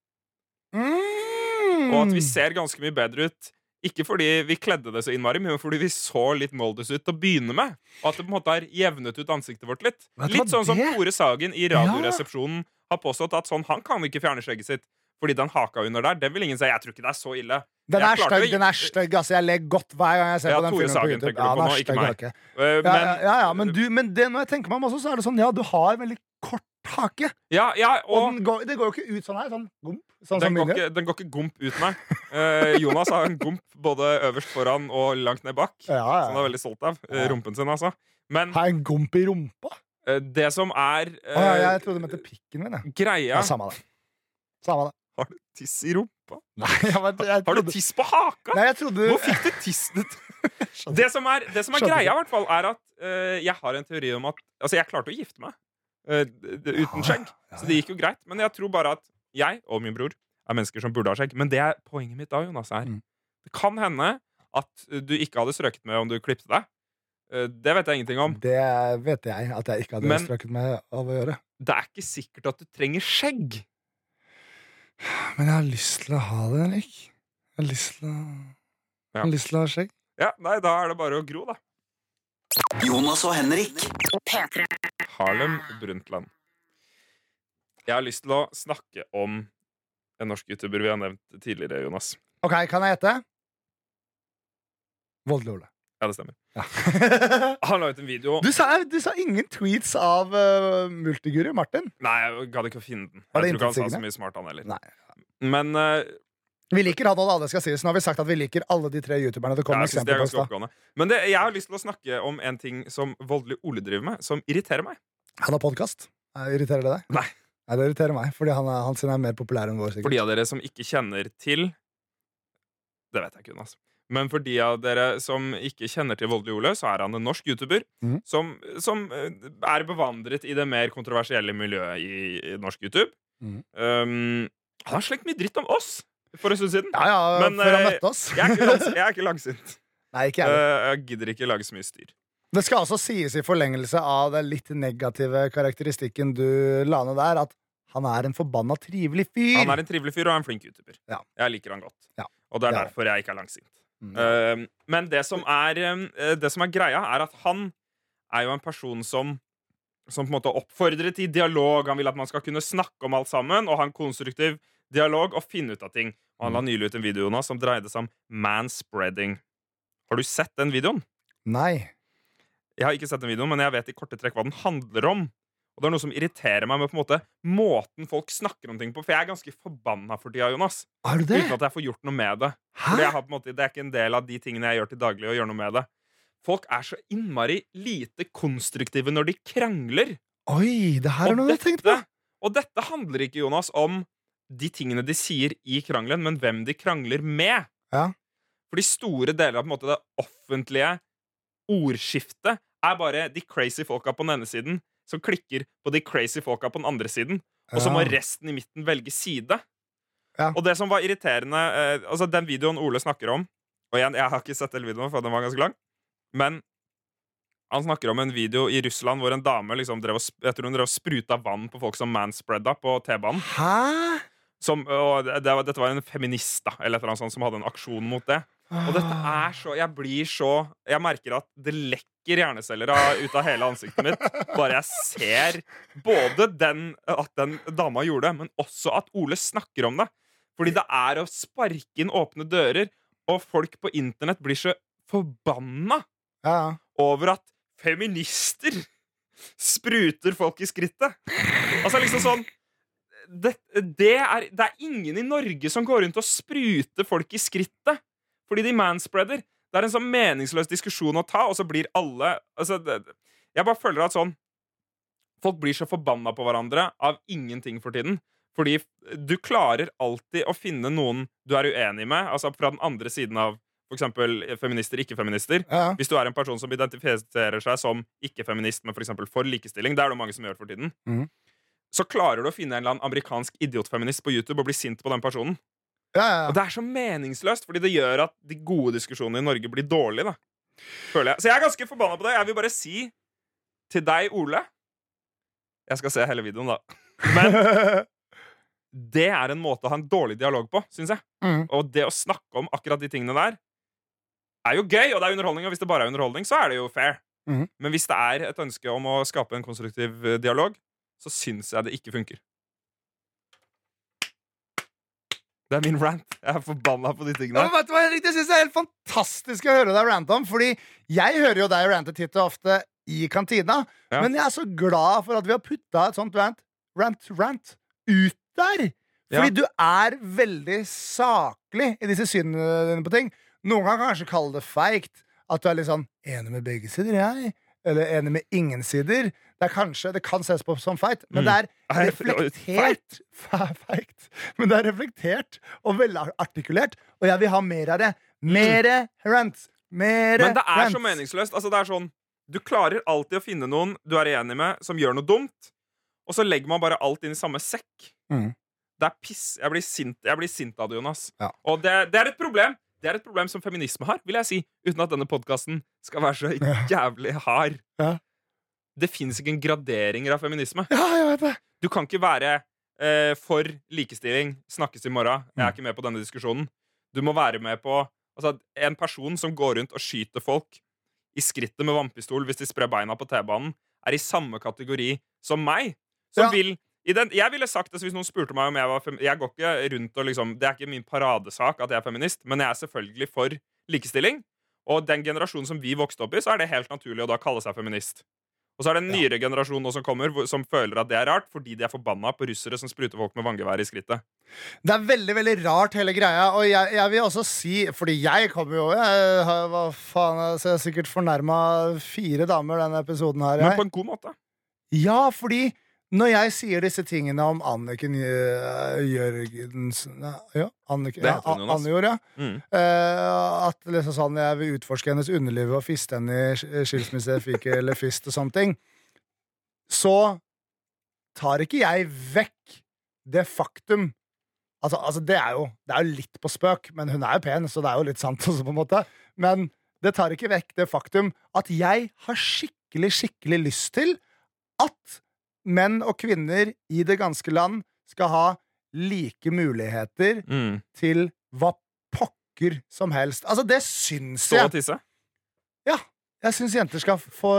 Mm.
Og at vi ser ganske mye bedre ut. Ikke fordi vi kledde det så innmari, men fordi vi så litt Moldus ut til å begynne med. Og at det på en måte har jevnet ut ansiktet vårt litt.
Vet du
Litt
hva,
sånn som
det-
Tore Sagen i Radioresepsjonen har påstått at sånn, han kan ikke fjerne skjegget sitt. Fordi den haka under der, den vil ingen si. Jeg tror ikke det er så ille.
Den
Jeg
er
klarte
stygg,
å-
den er stygg. Altså, jeg ler godt hver gang jeg ser
Ja,
på den
Tore
filmen på
Sagen
YouTube.
tenker du på nå, ikke meg.
hake.
Eh,
Ja,
men-
ja, ja, ja, men, du, men det, når jeg tenker meg om også, så er det sånn, ja, du har veldig kort hake.
Ja, ja,
Og
og
den går, det går jo ikke ut sånn her, sånn gump. Sånn som
den
min
går,
gjør.
ikke, den går ikke gomp ut, nei. Eh, Jonas har en gomp både øverst foran og langt ned bak.
Ja,
Som han
ja.
er veldig stolt av. eh,
Ja.
Rumpen sin, altså. Men
Har jeg en gump i rumpa?
eh, det som er
Å,
eh,
ja, jeg trodde du mente pikken min. Jeg. Ja,
greia
samme det. Samme det.
Har du tiss i rumpa?
Nei, jeg, vet- jeg
Har du
trodde,
tiss på haka?
nei, jeg trodde
Hvor fikk du tissen ut?
Skjønner.
Det som er, det som er
Skjønner.
greia, i hvert fall, er at eh, jeg har en teori om at Altså, jeg klarte å gifte meg eh, d- d- uten skjegg, så det gikk jo greit. Men jeg tror bare at jeg og min bror er mennesker som burde ha skjegg. Men det er poenget mitt da, Jonas, er
Mm.
Det kan hende at du ikke hadde strøket med om du klippet deg. Eh, det vet jeg ingenting om.
Det vet jeg at jeg ikke hadde
Men-
strøket meg av å gjøre.
Det er ikke sikkert at du trenger skjegg.
Men jeg har lyst til å ha det, Henrik. Jeg har lyst til å
Ja.
Jeg har lyst til å ha skjegg.
Ja, nei, da er det bare å gro, da.
Jonas og Henrik.
Harlem Brundtland. Jeg har lyst til å snakke om en norsk youtuber vi har nevnt tidligere, Jonas.
Ok, kan jeg gjette? Voldelig Ole.
Ja, det stemmer. Han la ut en video
du, sa, du sa ingen tweets av eh, multiguru Martin.
Nei, jeg gadd ikke å finne den.
Var det
Jeg tror ikke han sa så
inntektssignende?
mye smart, han heller.
Nei.
Men eh,
Vi liker han, og det alle skal sies. Nå har vi sagt at vi liker alle de tre youtuberne. Det kom
ja, jeg synes det
eksempler på i
er ganske
stad.
oppegående. Men det, jeg har lyst til å snakke om en ting som voldelig Ole driver med, som irriterer meg.
Han har podkast. Irriterer det deg?
Nei.
Nei, Det irriterer meg, fordi han, er, han sin er mer populær enn vår.
For
sikkert
de av dere som ikke kjenner til Det vet jeg ikke, Jonas. Men for de av dere som ikke kjenner til Voldelig Ole, så er han en norsk YouTuber
Mhm.
som, som eh, er bevandret i det mer kontroversielle miljøet i, i norsk YouTube.
Mhm.
Um, han har slengt mye dritt om oss for en stund siden.
Ja, ja,
Men,
før han
eh,
møtte oss.
Jeg er ikke, langs, jeg er ikke langsint.
Nei, ikke jeg. heller.
Eh, jeg gidder ikke lage så mye styr.
Det skal også sies i forlengelse av den litt negative karakteristikken du la ned der, at han er en forbanna trivelig fyr.
Han er en trivelig fyr og er en flink YouTuber.
Ja.
Jeg liker han godt.
Ja.
Og det er
Ja.
derfor jeg ikke er langsint.
Mm.
Um, men det som, er, um, eh, det som er greia, er at han er jo en person som Som på en måte oppfordrer til dialog. Han vil at man skal kunne snakke om alt sammen og ha en konstruktiv dialog og finne ut av ting.
Mm.
Og han la nylig ut en video Jonas, som dreide seg om manspreading. Har du sett den videoen?
Nei.
Jeg har ikke sett den videoen, men jeg vet i korte trekk hva den handler om. Og det er noe som irriterer meg med på en måte måten folk snakker om ting på. For jeg er ganske forbanna for tida, Jonas.
Er du det?
Uten at jeg får gjort noe med det. Fordi
Hæ?
jeg har på en måte, det er ikke en del av de tingene jeg gjør til daglig. å gjøre noe med det. Folk er så innmari lite konstruktive når de krangler.
Oi, det her er noe jeg har tenkt på.
og dette handler ikke, Jonas, om de tingene de sier i krangelen, men hvem de krangler med.
Ja.
Fordi store deler av på en måte, det offentlige ordskiftet er bare de crazy folka på den ene siden som klikker på de crazy folka på den andre siden. Og så må
Ja.
resten i midten velge side.
Ja.
Og det som var irriterende eh, Altså, den videoen Ole snakker om Og igjen, jeg har ikke sett hele videoen, for den var ganske lang. Men han snakker om en video i Russland hvor en dame liksom drev og, sp- jeg tror hun drev og spruta vann på folk som manspreada på T-banen.
Hæ?
Som, og det, det, var- dette var en feminist da, eller et eller annet sånt, som hadde en aksjon mot det. Og dette er så Jeg blir så Jeg merker at det lekker hjerneceller av, ut av hele ansiktet mitt bare jeg ser både den, at den dama gjorde det, men også at Ole snakker om det. Fordi det er å sparke inn åpne dører, og folk på internett blir så forbanna
Ja, ja.
over at feminister spruter folk i skrittet. Altså liksom sånn det, det, er, det er ingen i Norge som går rundt og spruter folk i skrittet fordi de manspreader. Det er en sånn meningsløs diskusjon å ta, og så blir alle altså, det, Jeg bare føler at sånn Folk blir så forbanna på hverandre av ingenting for tiden. Fordi du klarer alltid å finne noen du er uenig med, altså fra den andre siden av f.eks. feminister, ikke-feminister.
ja, ja.
Hvis du er en person som identifiserer seg som ikke-feminist, men for, eksempel for likestilling, det er det jo mange som gjør for tiden,
Mhm.
så klarer du å finne en eller annen amerikansk idiotfeminist på YouTube og bli sint på den personen.
ja, ja, ja.
Og det er så meningsløst, fordi det gjør at de gode diskusjonene i Norge blir dårlige, da. Føler jeg. Så jeg er ganske forbanna på det. Jeg vil bare si til deg, Ole Jeg skal se hele videoen, da. Men det er en måte å ha en dårlig dialog på, syns jeg.
Mhm.
Og det å snakke om akkurat de tingene der er jo gøy, og det er underholdning. Og hvis det bare er underholdning, så er det jo fair.
Mhm.
Men hvis det er et ønske om å skape en konstruktiv eh, dialog, så syns jeg det ikke funker. Det er min rant. Jeg er forbanna på de
Ja,
tingene.
men vet du hva, Henrik, det synes jeg er helt fantastisk å høre deg rante om, fordi jeg hører jo deg rante titt og ofte i kantina,
Ja.
men jeg er så glad for at vi har putta et sånt rant, rant, rant ut der.
Ja.
Fordi du er veldig saklig i disse synene dine på ting. Noen kan kanskje kalle det feigt at du er litt sånn enig med begge sider, jeg. Eller enig med ingen sider. Det er kanskje, det kan ses på som feit, men
Mm.
det er
Nei,
reflektert fe- Feigt. Men det er reflektert og velartikulert, og jeg vil ha mer av det. Mere rant. Mere
Men det er
rant.
så meningsløst. Altså, det er sånn, du klarer alltid å finne noen du er enig med, som gjør noe dumt, og så legger man bare alt inn i samme sekk.
Mhm.
Det er piss. Jeg blir sint, jeg blir sint av det, Jonas.
Ja.
Og det, det er et problem. Det er et problem som feminisme har, vil jeg si, uten at denne podkasten skal være så jævlig hard.
Ja.
Det fins ikke en graderinger av feminisme.
Ja, jeg vet det.
Du kan ikke være eh, for likestilling, snakkes i morgen, jeg er ikke med på denne diskusjonen. Du må være med på altså, En person som går rundt og skyter folk i skrittet med vannpistol hvis de sprer beina på T-banen, er i samme kategori som meg. Som
Ja.
vil i den, Jeg ville sagt det hvis noen spurte meg om jeg var fem, Jeg går ikke rundt og liksom Det er ikke min paradesak at jeg er feminist, men jeg er selvfølgelig for likestilling. Og den generasjonen som vi vokste opp i, så er det helt naturlig å da kalle seg feminist. Og så er det en nyere generasjon nå som kommer, hvor- som føler at det er rart, fordi de er forbanna på russere som spruter folk med vanngevær i skrittet.
Det er veldig veldig rart, hele greia. Og jeg, jeg vil også si, fordi jeg kommer jo jeg, har- Hva faen, altså, jeg har sikkert fornærma fire damer denne episoden her.
Men
Jeg.
på en god måte.
Ja, fordi når jeg sier disse tingene om Anniken Jø- Jørgensen Ja, Anniken,
Det
ja,
heter hun, Jonas.
Anne gjorde, ja.
Mm.
Eh, at liksom sånn, jeg vil utforske hennes underliv og fiste henne i sk- skilsmisse, fike eller fist og sånne ting, så tar ikke jeg vekk det faktum Altså, altså det, er jo, det er jo litt på spøk, men hun er jo pen, så det er jo litt sant også, på en måte. Men det tar ikke vekk det faktum at jeg har skikkelig, skikkelig lyst til at menn og kvinner i det ganske land skal ha like muligheter
Mm.
til hva pokker som helst. Altså, det syns
Stå og
jeg.
tisse. Nei,
Jeg syns jenter skal få,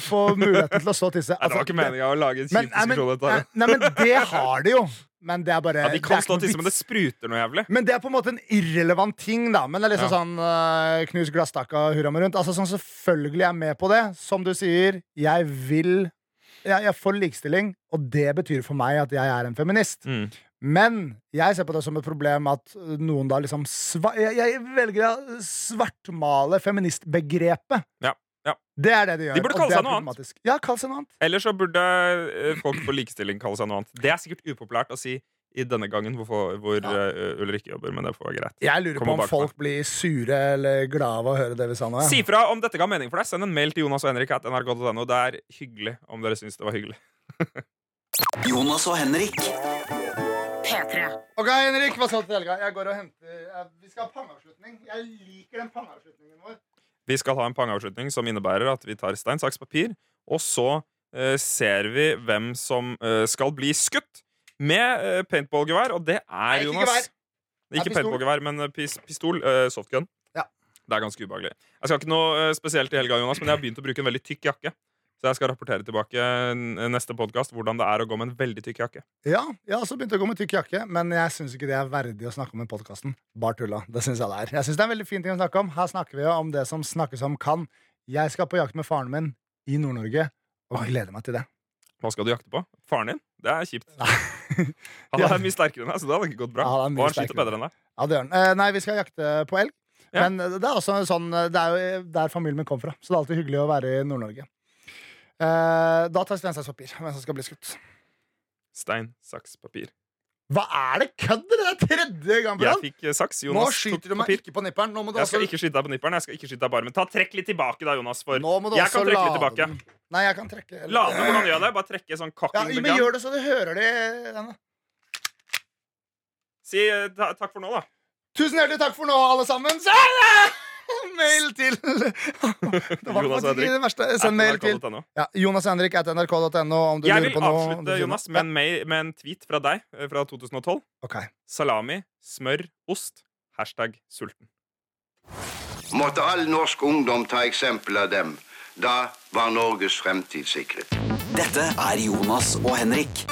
få muligheten til å stå og tisse. Altså,
det var ikke meninga å lage en
Men,
kjip
nei, men,
diskusjon. om dette
nei,
her.
nei, men det har de jo. Men det er bare
Ja, de
det
kan
er
stå
ikke
og
noe
tisse, men det
vits.
spruter noe jævlig.
men det er på en måte en irrelevant ting, da. Men det er liksom
Ja.
sånn eh, knus glasstaka og hurra meg rundt. Altså sånn Selvfølgelig er jeg med på det. Som du sier, jeg vil Jeg, jeg får likestilling, og det betyr for meg at jeg er en feminist.
Mm.
Men jeg ser på det som et problem at øh, noen da liksom sva jeg, jeg velger å svartmale feministbegrepet.
Ja, ja.
Det er det de gjør.
De burde
og
kalle
det er
seg noe annet.
problematisk. Ja, kalle seg noe annet.
Eller så burde eh, folk for likestilling kalle seg noe annet. Det er sikkert upopulært å si i denne gangen hvor, hvor eh, Ulrikke jobber, men det får være greit.
Jeg lurer
Kommer
på om
bak
folk blir sure eller glade av å høre det vi sa nå. ja.
Si fra om dette ga mening for deg. Send en mail til Jonas og Henrik at nrk.no. Det er hyggelig om dere syns det var hyggelig.
Jonas og Henrik.
P3.
Ok, Henrik, hva skal du til helga? Jeg går og henter jeg, Vi skal ha pangeavslutning. Jeg liker den pangeavslutningen vår.
Vi skal ha en pangeavslutning som innebærer at vi tar stein, saks, papir, og så eh, ser vi hvem som eh, skal bli skutt med eh, paintballgevær, og det
ikke
er Jonas.
gevær. er
Ikke
pistol.
paintballgevær, men eh, pis, pistol. eh, softgun.
Ja.
Det er ganske ubehagelig. Jeg skal ikke noe eh, spesielt i helga, Jonas, men jeg har begynt å bruke en veldig tykk jakke. Så jeg skal rapportere tilbake eh, neste podkast hvordan det er å gå med en veldig tykk jakke.
Ja, jeg har også begynt å gå med tykk jakke, men jeg syns ikke det er verdig å snakke om i podkasten. Bare tulla. Det syns jeg det er. Jeg syns det er en veldig fin ting å snakke om. Her snakker vi jo om det som snakkes om kan. Jeg skal på jakt med faren min i Nord-Norge, og gleder meg til det.
Hva skal du jakte på? Faren din? Det er kjipt. Han
Ja.
er mye sterkere enn deg, så det hadde ikke gått bra.
Ja, han er mye
og han skyter
sterkere.
bedre enn deg.
Ja, det gjør den. Eh, nei, vi skal jakte på elg.
Ja.
Men det er også en sånn Det er jo der familien min kom fra, så det er alltid hyggelig å være i Nord-Norge. Eh, da tar jeg stein, saks, papir hvem som skal bli skutt.
Stein, saks, papir.
Hva er det kødd? Det er tredje gang på
Jeg
rad!
fikk eh, saks.
Nå
Jonas tok
skyter du meg
papir.
ikke på nipperen. Nå må du altså
Jeg skal
også
ikke skyte deg på nipperen. Jeg skal ikke skyte deg på armen. Ta Trekk litt tilbake, da, Jonas. For
Nå må du
jeg
også
kan trekke litt
lade
tilbake.
den. Nei, jeg kan trekke eller-
Lade hvordan gjør jeg det? Bare trekke sånn
Ja,
cocking the
men
gun.
gjør det så du hører det Anna.
Si eh, ta, takk for nå, da.
Tusen hjertelig takk for nå, alle sammen Så er det Mail til Det var
Jonas
faktisk
Henrik.
ikke det verste Send mail til
NRK.no.
ja, Jonas Henrik at nrk.no Om du lurer
Jeg vil
på noe du
avslutte
finner-
Jonas, med en, mail, med en tweet fra deg eh, fra 2012.
Ok.
Salami, smør, ost. Hashtag sulten.
måtte all norsk ungdom ta eksempel av dem. Da var Norges fremtid sikret.
Dette er Jonas og Henrik.